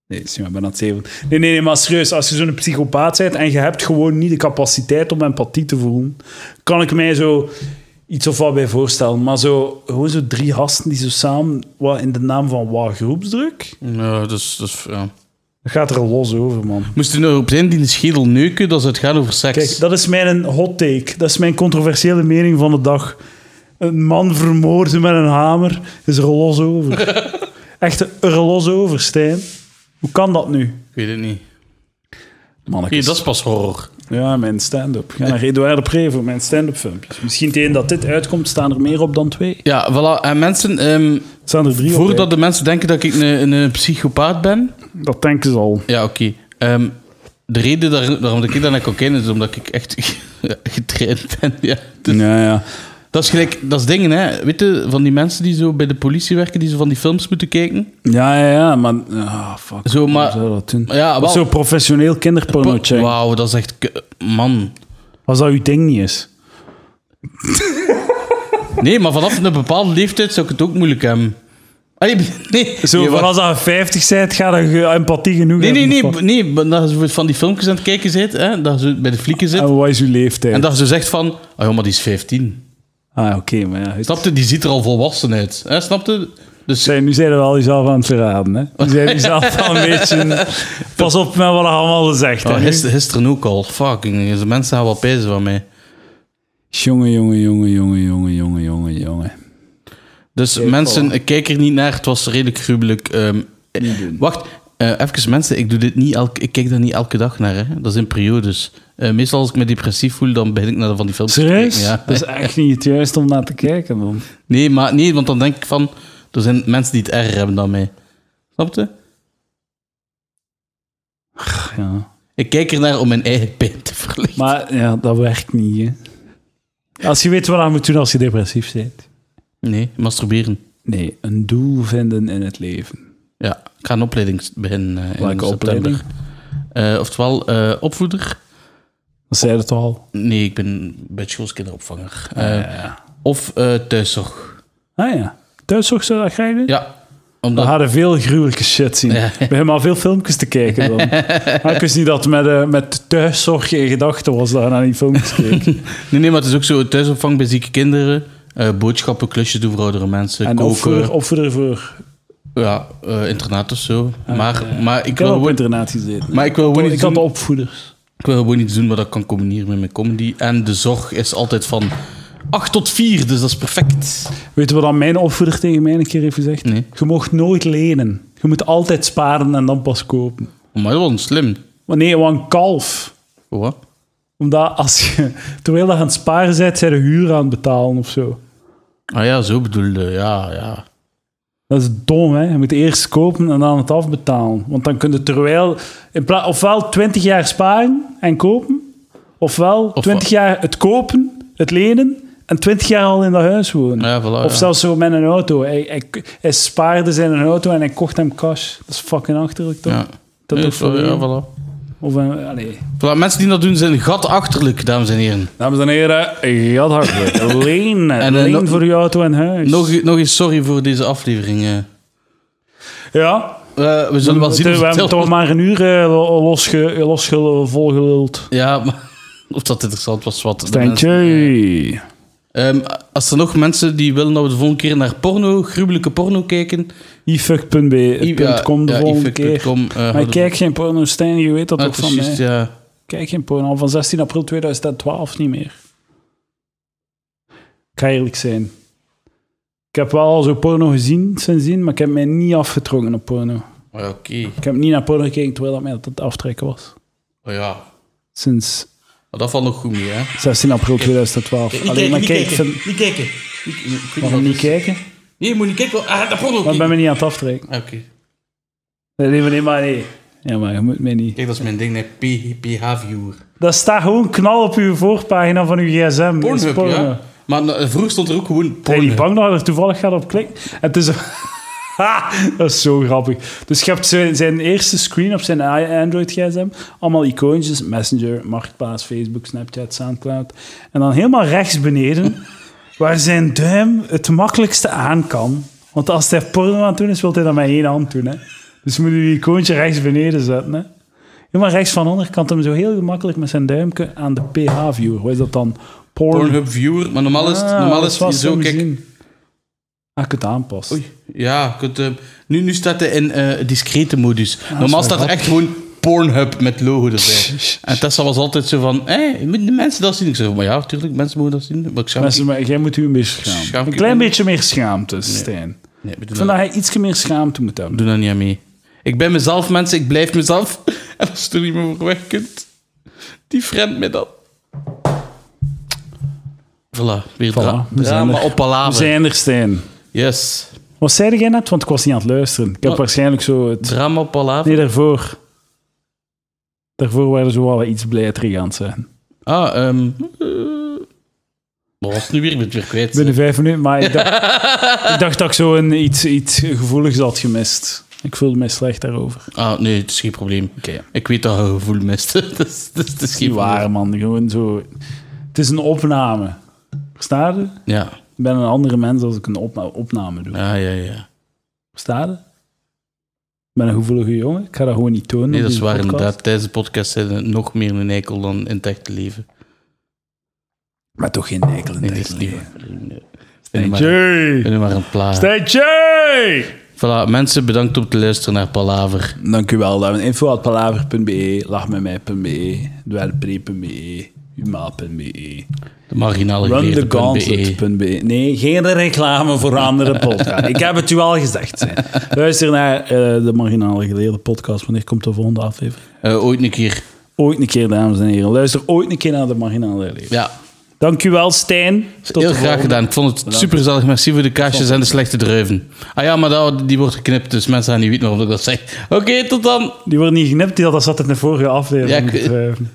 [SPEAKER 1] Nee, is niet waar, ik ben aan het zeven. Nee, nee, nee, maar serieus, als je zo'n psychopaat bent en je hebt gewoon niet de capaciteit om empathie te voelen, kan ik mij zo iets of wat bij voorstellen. Maar zo, gewoon zo drie gasten die zo samen, wat, in de naam van wat, groepsdruk?
[SPEAKER 2] Ja, dus, dus, ja.
[SPEAKER 1] Dat gaat er los over, man.
[SPEAKER 2] Moest er nou op zijn die een schedel neuken, dat is het gaan over seks.
[SPEAKER 1] Kijk, dat is mijn hot take. Dat is mijn controversiële mening van de dag. Een man vermoorden met een hamer is er los over. Echt er los over, Stijn. Hoe kan dat nu?
[SPEAKER 2] Ik weet het niet.
[SPEAKER 1] Mannetjes.
[SPEAKER 2] Hier, dat is pas horror.
[SPEAKER 1] Ja, mijn stand-up. Ga naar Edouard de Pre voor mijn stand-up filmpjes. Misschien tegen dat dit uitkomt staan er meer op dan twee.
[SPEAKER 2] Ja, voilà. En mensen, ehm,
[SPEAKER 1] Er staan er drie op,
[SPEAKER 2] voordat de mensen denken dat ik een, een psychopaat ben...
[SPEAKER 1] hè. Dat denken ze al.
[SPEAKER 2] Ja, oké. Ehm, de reden daar, waarom dat ik dan naar cocaïne is, omdat ik echt getraind ben. Ja. Dus
[SPEAKER 1] Ja, ja.
[SPEAKER 2] Dat is gelijk, dat is dingen, hè. Weet je, van die mensen die zo bij de politie werken, die zo van die films moeten kijken.
[SPEAKER 1] Ja, ja, ja, maar... Ah, fuck.
[SPEAKER 2] Zo, maar-
[SPEAKER 1] Hoe zou dat doen?
[SPEAKER 2] Ja, wel.
[SPEAKER 1] Zo professioneel kinderporno Oh, check.
[SPEAKER 2] Wauw, dat is echt... ke- Man.
[SPEAKER 1] Als dat uw ding niet is.
[SPEAKER 2] Nee, maar vanaf een bepaalde leeftijd zou ik het ook moeilijk hebben. Allee, nee.
[SPEAKER 1] Zo,
[SPEAKER 2] nee,
[SPEAKER 1] van
[SPEAKER 2] wacht.
[SPEAKER 1] als je 50 bent, ga dan je empathie genoeg
[SPEAKER 2] Nee, nee,
[SPEAKER 1] hebben,
[SPEAKER 2] nee,
[SPEAKER 1] of wat?
[SPEAKER 2] nee. maar Dat je van die filmpjes aan het kijken zit, hè, dat ze bij de flieken zit.
[SPEAKER 1] En wat is uw leeftijd?
[SPEAKER 2] En dat ze zegt van, oh ja, maar die is 15.
[SPEAKER 1] Ah, oké, maar ja. het-
[SPEAKER 2] Snapte, die ziet er al volwassen uit. Hè, snapte? Dus
[SPEAKER 1] Zij- nu zijn we al jezelf aan het verraden, hè? Nu zijn jezelf al een beetje... Pas op met wat je allemaal zegt,
[SPEAKER 2] oh,
[SPEAKER 1] hè?
[SPEAKER 2] gister- gisteren ook al. Fucking, de mensen gaan wel pezen van mij.
[SPEAKER 1] Jongen, jongen, jongen, jongen, jongen, jongen, jongen, jongen.
[SPEAKER 2] Dus mensen, ik kijk er niet naar. Het was redelijk gruwelijk. ehm, eh, wacht, eh, even mensen. Ik, doe dit niet elke, ik kijk daar niet elke dag naar. Hè. Dat is in periodes. Eh, meestal als ik me depressief voel, dan begin ik naar van die films te
[SPEAKER 1] Serieus? Dus-
[SPEAKER 2] kijken, Ja.
[SPEAKER 1] Dat is echt niet het juiste om naar te kijken, man.
[SPEAKER 2] Nee, maar, nee, want dan denk ik van... Er zijn mensen die het erger hebben dan mij. Snap je?
[SPEAKER 1] Ja.
[SPEAKER 2] Ik kijk ernaar om mijn eigen pijn te verlichten.
[SPEAKER 1] Maar ja, dat werkt niet, hè? Als je weet wat je moet doen als je depressief bent.
[SPEAKER 2] Nee, masturberen.
[SPEAKER 1] Nee, een doel vinden in het leven.
[SPEAKER 2] Ja, ik ga een opleiding beginnen eh, in
[SPEAKER 1] Welke
[SPEAKER 2] september.
[SPEAKER 1] opleiding?
[SPEAKER 2] Eh, oftewel, eh, opvoeder.
[SPEAKER 1] Dat zei het al.
[SPEAKER 2] Nee, ik ben bij schoolskinderopvanger. Eh, Of eh, thuiszorg.
[SPEAKER 1] Ah ja. Thuiszorg zou dat krijgen?
[SPEAKER 2] Ja,
[SPEAKER 1] We
[SPEAKER 2] omdat...
[SPEAKER 1] hadden veel gruwelijke shit zien.
[SPEAKER 2] Ja.
[SPEAKER 1] We hebben al veel filmpjes te kijken. Dan. Maar ik wist niet dat met, eh, met thuiszorg in gedachten was dat je naar die filmpjes keek.
[SPEAKER 2] Nee, nee, maar het is ook zo thuisopvang bij zieke kinderen. eh, boodschappen, klusjes doen voor oudere mensen.
[SPEAKER 1] En
[SPEAKER 2] koken.
[SPEAKER 1] opvoeder, opvoeder voor... Ah,
[SPEAKER 2] Ja, eh, internaat of zo. maar, maar ik
[SPEAKER 1] Ik heb
[SPEAKER 2] wil
[SPEAKER 1] op
[SPEAKER 2] gewoon...
[SPEAKER 1] internaat gezeten.
[SPEAKER 2] Maar ik wil gewoon
[SPEAKER 1] ik
[SPEAKER 2] iets
[SPEAKER 1] had
[SPEAKER 2] doen-
[SPEAKER 1] opvoeders.
[SPEAKER 2] Ik wil gewoon iets doen wat ik kan combineren met mijn comedy. En de zorg is altijd van 8 tot 4, dus dat is perfect.
[SPEAKER 1] Weet je wat dan mijn opvoeder tegen mij een keer heeft gezegd?
[SPEAKER 2] Nee.
[SPEAKER 1] Je mag nooit lenen. Je moet altijd sparen en dan pas kopen.
[SPEAKER 2] Maar dat was slim.
[SPEAKER 1] Maar nee, want een kalf.
[SPEAKER 2] Wat?
[SPEAKER 1] Omdat als je, terwijl je aan het sparen bent, zijn de huur aan het betalen of zo.
[SPEAKER 2] Ah ja, zo bedoelde. Ja, ja.
[SPEAKER 1] Dat is dom, hè? Je moet eerst kopen en dan het afbetalen. Want dan kun je terwijl... In pla- ofwel 20 jaar sparen en kopen, ofwel 20 jaar het kopen, het lenen, en 20 jaar al in dat huis wonen.
[SPEAKER 2] Ja, voilà,
[SPEAKER 1] of
[SPEAKER 2] ja.
[SPEAKER 1] zelfs zo met een auto. Hij, hij, hij spaarde zijn auto en hij kocht hem cash. Dat is fucking achterlijk, toch?
[SPEAKER 2] ja.
[SPEAKER 1] Dat
[SPEAKER 2] Nee,
[SPEAKER 1] doet voor
[SPEAKER 2] ja,
[SPEAKER 1] iedereen.
[SPEAKER 2] voilà.
[SPEAKER 1] Of een... Allee.
[SPEAKER 2] Voilà, mensen die dat doen zijn gatachterlijk, dames en heren.
[SPEAKER 1] Dames en heren, ja, hartelijk. Leen.
[SPEAKER 2] En, eh,
[SPEAKER 1] Leen
[SPEAKER 2] nog-
[SPEAKER 1] voor je auto en huis.
[SPEAKER 2] Nog, nog eens sorry voor deze aflevering. eh.
[SPEAKER 1] Ja,
[SPEAKER 2] Eh, we zullen wel zien
[SPEAKER 1] we
[SPEAKER 2] of het
[SPEAKER 1] hebben toch maar een uur eh, lo- losge, losge, volgeluld.
[SPEAKER 2] Ja, maar of dat interessant was, wat. de
[SPEAKER 1] Thank
[SPEAKER 2] mensen-
[SPEAKER 1] you.
[SPEAKER 2] Ehm, als er nog mensen die willen dat we de volgende keer naar porno, gruwelijke porno kijken,
[SPEAKER 1] ifuck.com de
[SPEAKER 2] ja,
[SPEAKER 1] volgende
[SPEAKER 2] ifuck.com,
[SPEAKER 1] keer.
[SPEAKER 2] eh,
[SPEAKER 1] maar
[SPEAKER 2] houden
[SPEAKER 1] ik
[SPEAKER 2] we-
[SPEAKER 1] kijk geen porno, Stijn, je weet dat
[SPEAKER 2] Ah,
[SPEAKER 1] ook
[SPEAKER 2] het is
[SPEAKER 1] van mij.
[SPEAKER 2] juist, ja.
[SPEAKER 1] Kijk geen porno, al van 16 april 2012 niet meer. Ik ga eerlijk zijn. Ik heb wel al zo porno gezien sindsdien, maar ik heb mij niet afgetrokken op porno.
[SPEAKER 2] Ja, Oké,
[SPEAKER 1] Ik heb niet naar porno gekeken terwijl dat mij dat het aftrekken was.
[SPEAKER 2] Oh ja,
[SPEAKER 1] Sinds
[SPEAKER 2] Maar dat valt nog goed mee, hè?
[SPEAKER 1] 16 april 2012. Alleen maar kijk, ik vind-
[SPEAKER 2] niet kijken.
[SPEAKER 1] waarom niet kijken?
[SPEAKER 2] Nee, je moet niet kijken. Ah, dat porno
[SPEAKER 1] Maar ik ben
[SPEAKER 2] kijken.
[SPEAKER 1] me niet aan het aftrekken.
[SPEAKER 2] Ah, Oké,
[SPEAKER 1] Nee, nee, maar nee, maar nee. Ja, maar je moet mij niet.
[SPEAKER 2] kijk, dat is mijn ding, hè. P- PH-viewer.
[SPEAKER 1] Dat staat gewoon knal op uw voorpagina van uw gsm. is
[SPEAKER 2] Pornhub,
[SPEAKER 1] porno.
[SPEAKER 2] ja. Maar eh, vroeger stond er ook gewoon
[SPEAKER 1] Ben je niet bang
[SPEAKER 2] porno.
[SPEAKER 1] dat je er toevallig gaat op klikken? En het is... Ha, dat is zo grappig. Dus je hebt zijn, zijn eerste screen op zijn i- Android-gsm. Allemaal icoontjes. Messenger, Marktplaats, Facebook, Snapchat, Soundcloud. En dan helemaal rechts beneden, waar zijn duim het makkelijkste aan kan. Want als hij porno aan het doen is, wil hij dat met één hand doen. Hè? Dus moet je die icoontje rechts beneden zetten. Hè? Helemaal rechts van de onderkant hem zo heel gemakkelijk met zijn duimpje aan de PH-viewer. Wat is dat dan? Porn
[SPEAKER 2] Pornhub-viewer. Maar normaal is het,
[SPEAKER 1] Ah,
[SPEAKER 2] normaal
[SPEAKER 1] dat
[SPEAKER 2] is
[SPEAKER 1] was
[SPEAKER 2] het zo,
[SPEAKER 1] hem
[SPEAKER 2] kijk...
[SPEAKER 1] gezien. Ah, ik het aanpassen.
[SPEAKER 2] Oei, ja, kunt, eh, nu, nu staat hij in eh, discrete modus. Normaal staat er echt gewoon Pornhub met logo erbij. en Tessa was altijd zo van, hé, moeten de mensen dat zien? Ik zei, maar ja, tuurlijk, mensen mogen dat zien. Maar ik zou...
[SPEAKER 1] Mensen, maar jij moet u een beetje
[SPEAKER 2] Schaam
[SPEAKER 1] schamen.
[SPEAKER 2] ik
[SPEAKER 1] Een
[SPEAKER 2] u
[SPEAKER 1] klein
[SPEAKER 2] niet?
[SPEAKER 1] beetje meer schaamte, Stijn.
[SPEAKER 2] Nee, we
[SPEAKER 1] Ik
[SPEAKER 2] doen
[SPEAKER 1] vind
[SPEAKER 2] dat,
[SPEAKER 1] dat hij iets meer schaamte moet
[SPEAKER 2] we
[SPEAKER 1] hebben.
[SPEAKER 2] doen dat niet aan mee. Ik ben mezelf, mensen, ik blijf mezelf. en als je er niet meer voor weg kunt, die friend me dan. Voilà, weer dra-
[SPEAKER 1] we zijn
[SPEAKER 2] drama
[SPEAKER 1] er.
[SPEAKER 2] op palaver.
[SPEAKER 1] We zijn er, Stijn.
[SPEAKER 2] Yes,
[SPEAKER 1] Wat zei jij net? Want ik was niet aan het luisteren. Ik heb
[SPEAKER 2] Wat?
[SPEAKER 1] waarschijnlijk zo het...
[SPEAKER 2] drama op palaver.
[SPEAKER 1] Nee, daarvoor. Daarvoor waren ze wel iets blijter aan het zijn.
[SPEAKER 2] Ah, ehm... eh, wat was het nu weer? Ik ben het weer kwijt.
[SPEAKER 1] Binnen vijf minuten, maar ik dacht, ik dacht dat ik zo een, iets, iets gevoeligs had gemist. Ik voelde mij slecht daarover.
[SPEAKER 2] Ah, nee, het is geen probleem. Ik weet dat je een gevoel mist. dat, is, dat, is, dat is geen
[SPEAKER 1] Niet waar, man. Gewoon zo... Het is een opname. Versta je?
[SPEAKER 2] probleem. Ja, Ah,
[SPEAKER 1] Ik ben een andere mens als ik een opna- opname doe.
[SPEAKER 2] ja, ja. ja.
[SPEAKER 1] Versta je? Ik ben een gevoelige jongen. Ik ga dat gewoon niet tonen. op
[SPEAKER 2] Nee, dat is
[SPEAKER 1] deze
[SPEAKER 2] waar
[SPEAKER 1] podcast.
[SPEAKER 2] inderdaad. Tijdens de podcast zijn we nog meer een eikel dan in het echte leven.
[SPEAKER 1] Maar toch geen enkele
[SPEAKER 2] Nee,
[SPEAKER 1] nee,
[SPEAKER 2] dat is niet waar.
[SPEAKER 1] Stay
[SPEAKER 2] Nee, maar- Ik ben maar een plaat.
[SPEAKER 1] Stay J!
[SPEAKER 2] Voilà, mensen, bedankt om te luisteren naar Palaver.
[SPEAKER 1] Dank u wel. dames. Info.palaver.be, lachmetmij.be, dwergpre.be, humaal.be,
[SPEAKER 2] De E. marginale geleerde.be.
[SPEAKER 1] runthegauntlet.be. Nee, geen reclame voor andere podcast. Ik heb het u al gezegd. Zijn. Luister naar eh, de Marginale Geleerde podcast. Wanneer komt de volgende aflevering?
[SPEAKER 2] Eh, ooit een keer.
[SPEAKER 1] Ooit een keer, dames en heren. Luister ooit een keer naar de Marginale Geleerde.
[SPEAKER 2] Ja,
[SPEAKER 1] Dankjewel, Stijn. Tot
[SPEAKER 2] heel
[SPEAKER 1] de
[SPEAKER 2] graag
[SPEAKER 1] volgende.
[SPEAKER 2] gedaan. Ik vond het super gezellig. Merci voor de kaasjes en de slechte druiven. Ah ja, maar dat, die wordt geknipt, dus mensen gaan niet weten waarom ik dat zeg. Oké, tot dan.
[SPEAKER 1] Die wordt niet geknipt, die dat zat in de vorige aflevering.
[SPEAKER 2] Ja, ik-
[SPEAKER 1] Eh,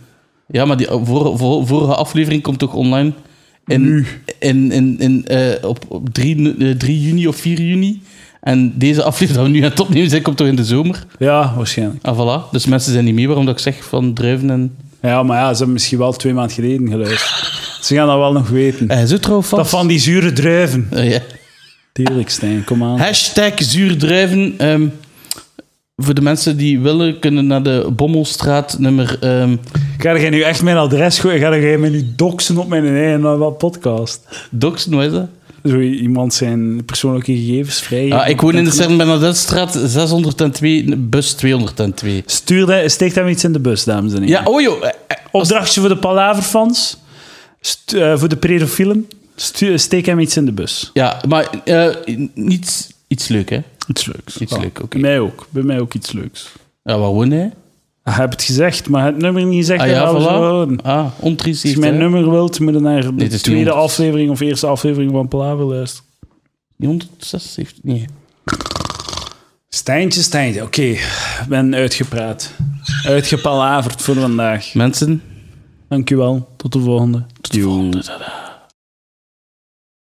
[SPEAKER 2] Ja, maar die vor- vor- vorige aflevering komt toch online? In, In, in, in, eh, op, op 3, eh, 3 juni of 4 juni. En deze aflevering dat we nu aan het opnemen zijn, komt toch in de zomer?
[SPEAKER 1] ja, waarschijnlijk.
[SPEAKER 2] Ah, voilà. Dus mensen zijn niet mee waarom dat ik zeg van druiven en...
[SPEAKER 1] Ja, maar ja, ze hebben misschien wel twee maanden geleden geluisterd. Ze gaan dat wel nog weten.
[SPEAKER 2] Hij zit trouw vast.
[SPEAKER 1] Dat van die zure druiven.
[SPEAKER 2] Eh, ja.
[SPEAKER 1] Tuurlijk, Stijn, kom aan.
[SPEAKER 2] Hashtag zuurdruiven. Ehm, voor de mensen die willen, kunnen naar de Bommelstraat nummer... ehm
[SPEAKER 1] Ga jij nu echt mijn adres gooien? Ga jij mij nu doxen op mijn eigen eh, wat podcast?
[SPEAKER 2] Doxen, hoe is dat?
[SPEAKER 1] zo iemand zijn persoonlijke gegevens vrij.
[SPEAKER 2] Ah, ik woon in de Sern Bernadettestraat 602, bus 202.
[SPEAKER 1] Stuur dat- steek hem iets in de bus, dames en heren.
[SPEAKER 2] Ja, oh joh. eh, eh,
[SPEAKER 1] Opdrachtje voor de palaverfans. St- eh, voor de predofielen. Stu- steek hem iets in de bus.
[SPEAKER 2] Ja, maar eh, niets, iets leuk, hè?
[SPEAKER 1] Iets leuks.
[SPEAKER 2] Iets
[SPEAKER 1] Ja.
[SPEAKER 2] leuk, oké.
[SPEAKER 1] Bij mij ook. Bij mij ook iets leuks.
[SPEAKER 2] Ja, waar woon hij?
[SPEAKER 1] Ik heb het gezegd, maar het nummer niet gezegd.
[SPEAKER 2] Ah
[SPEAKER 1] dat
[SPEAKER 2] ja,
[SPEAKER 1] gaan we zo
[SPEAKER 2] voilà.
[SPEAKER 1] houden.
[SPEAKER 2] Ah,
[SPEAKER 1] Als
[SPEAKER 2] ontriest heeft
[SPEAKER 1] je mijn
[SPEAKER 2] hij.
[SPEAKER 1] nummer wilt, moet je naar de
[SPEAKER 2] Dit is
[SPEAKER 1] tweede
[SPEAKER 2] 300.
[SPEAKER 1] aflevering of eerste aflevering van Palaver luisteren.
[SPEAKER 2] Die 176, nee.
[SPEAKER 1] Stijntje, Stijntje. Oké, ik ben uitgepraat. Uitgepalaverd voor vandaag.
[SPEAKER 2] Mensen,
[SPEAKER 1] Dank u wel. Tot de volgende. Tot de volgende.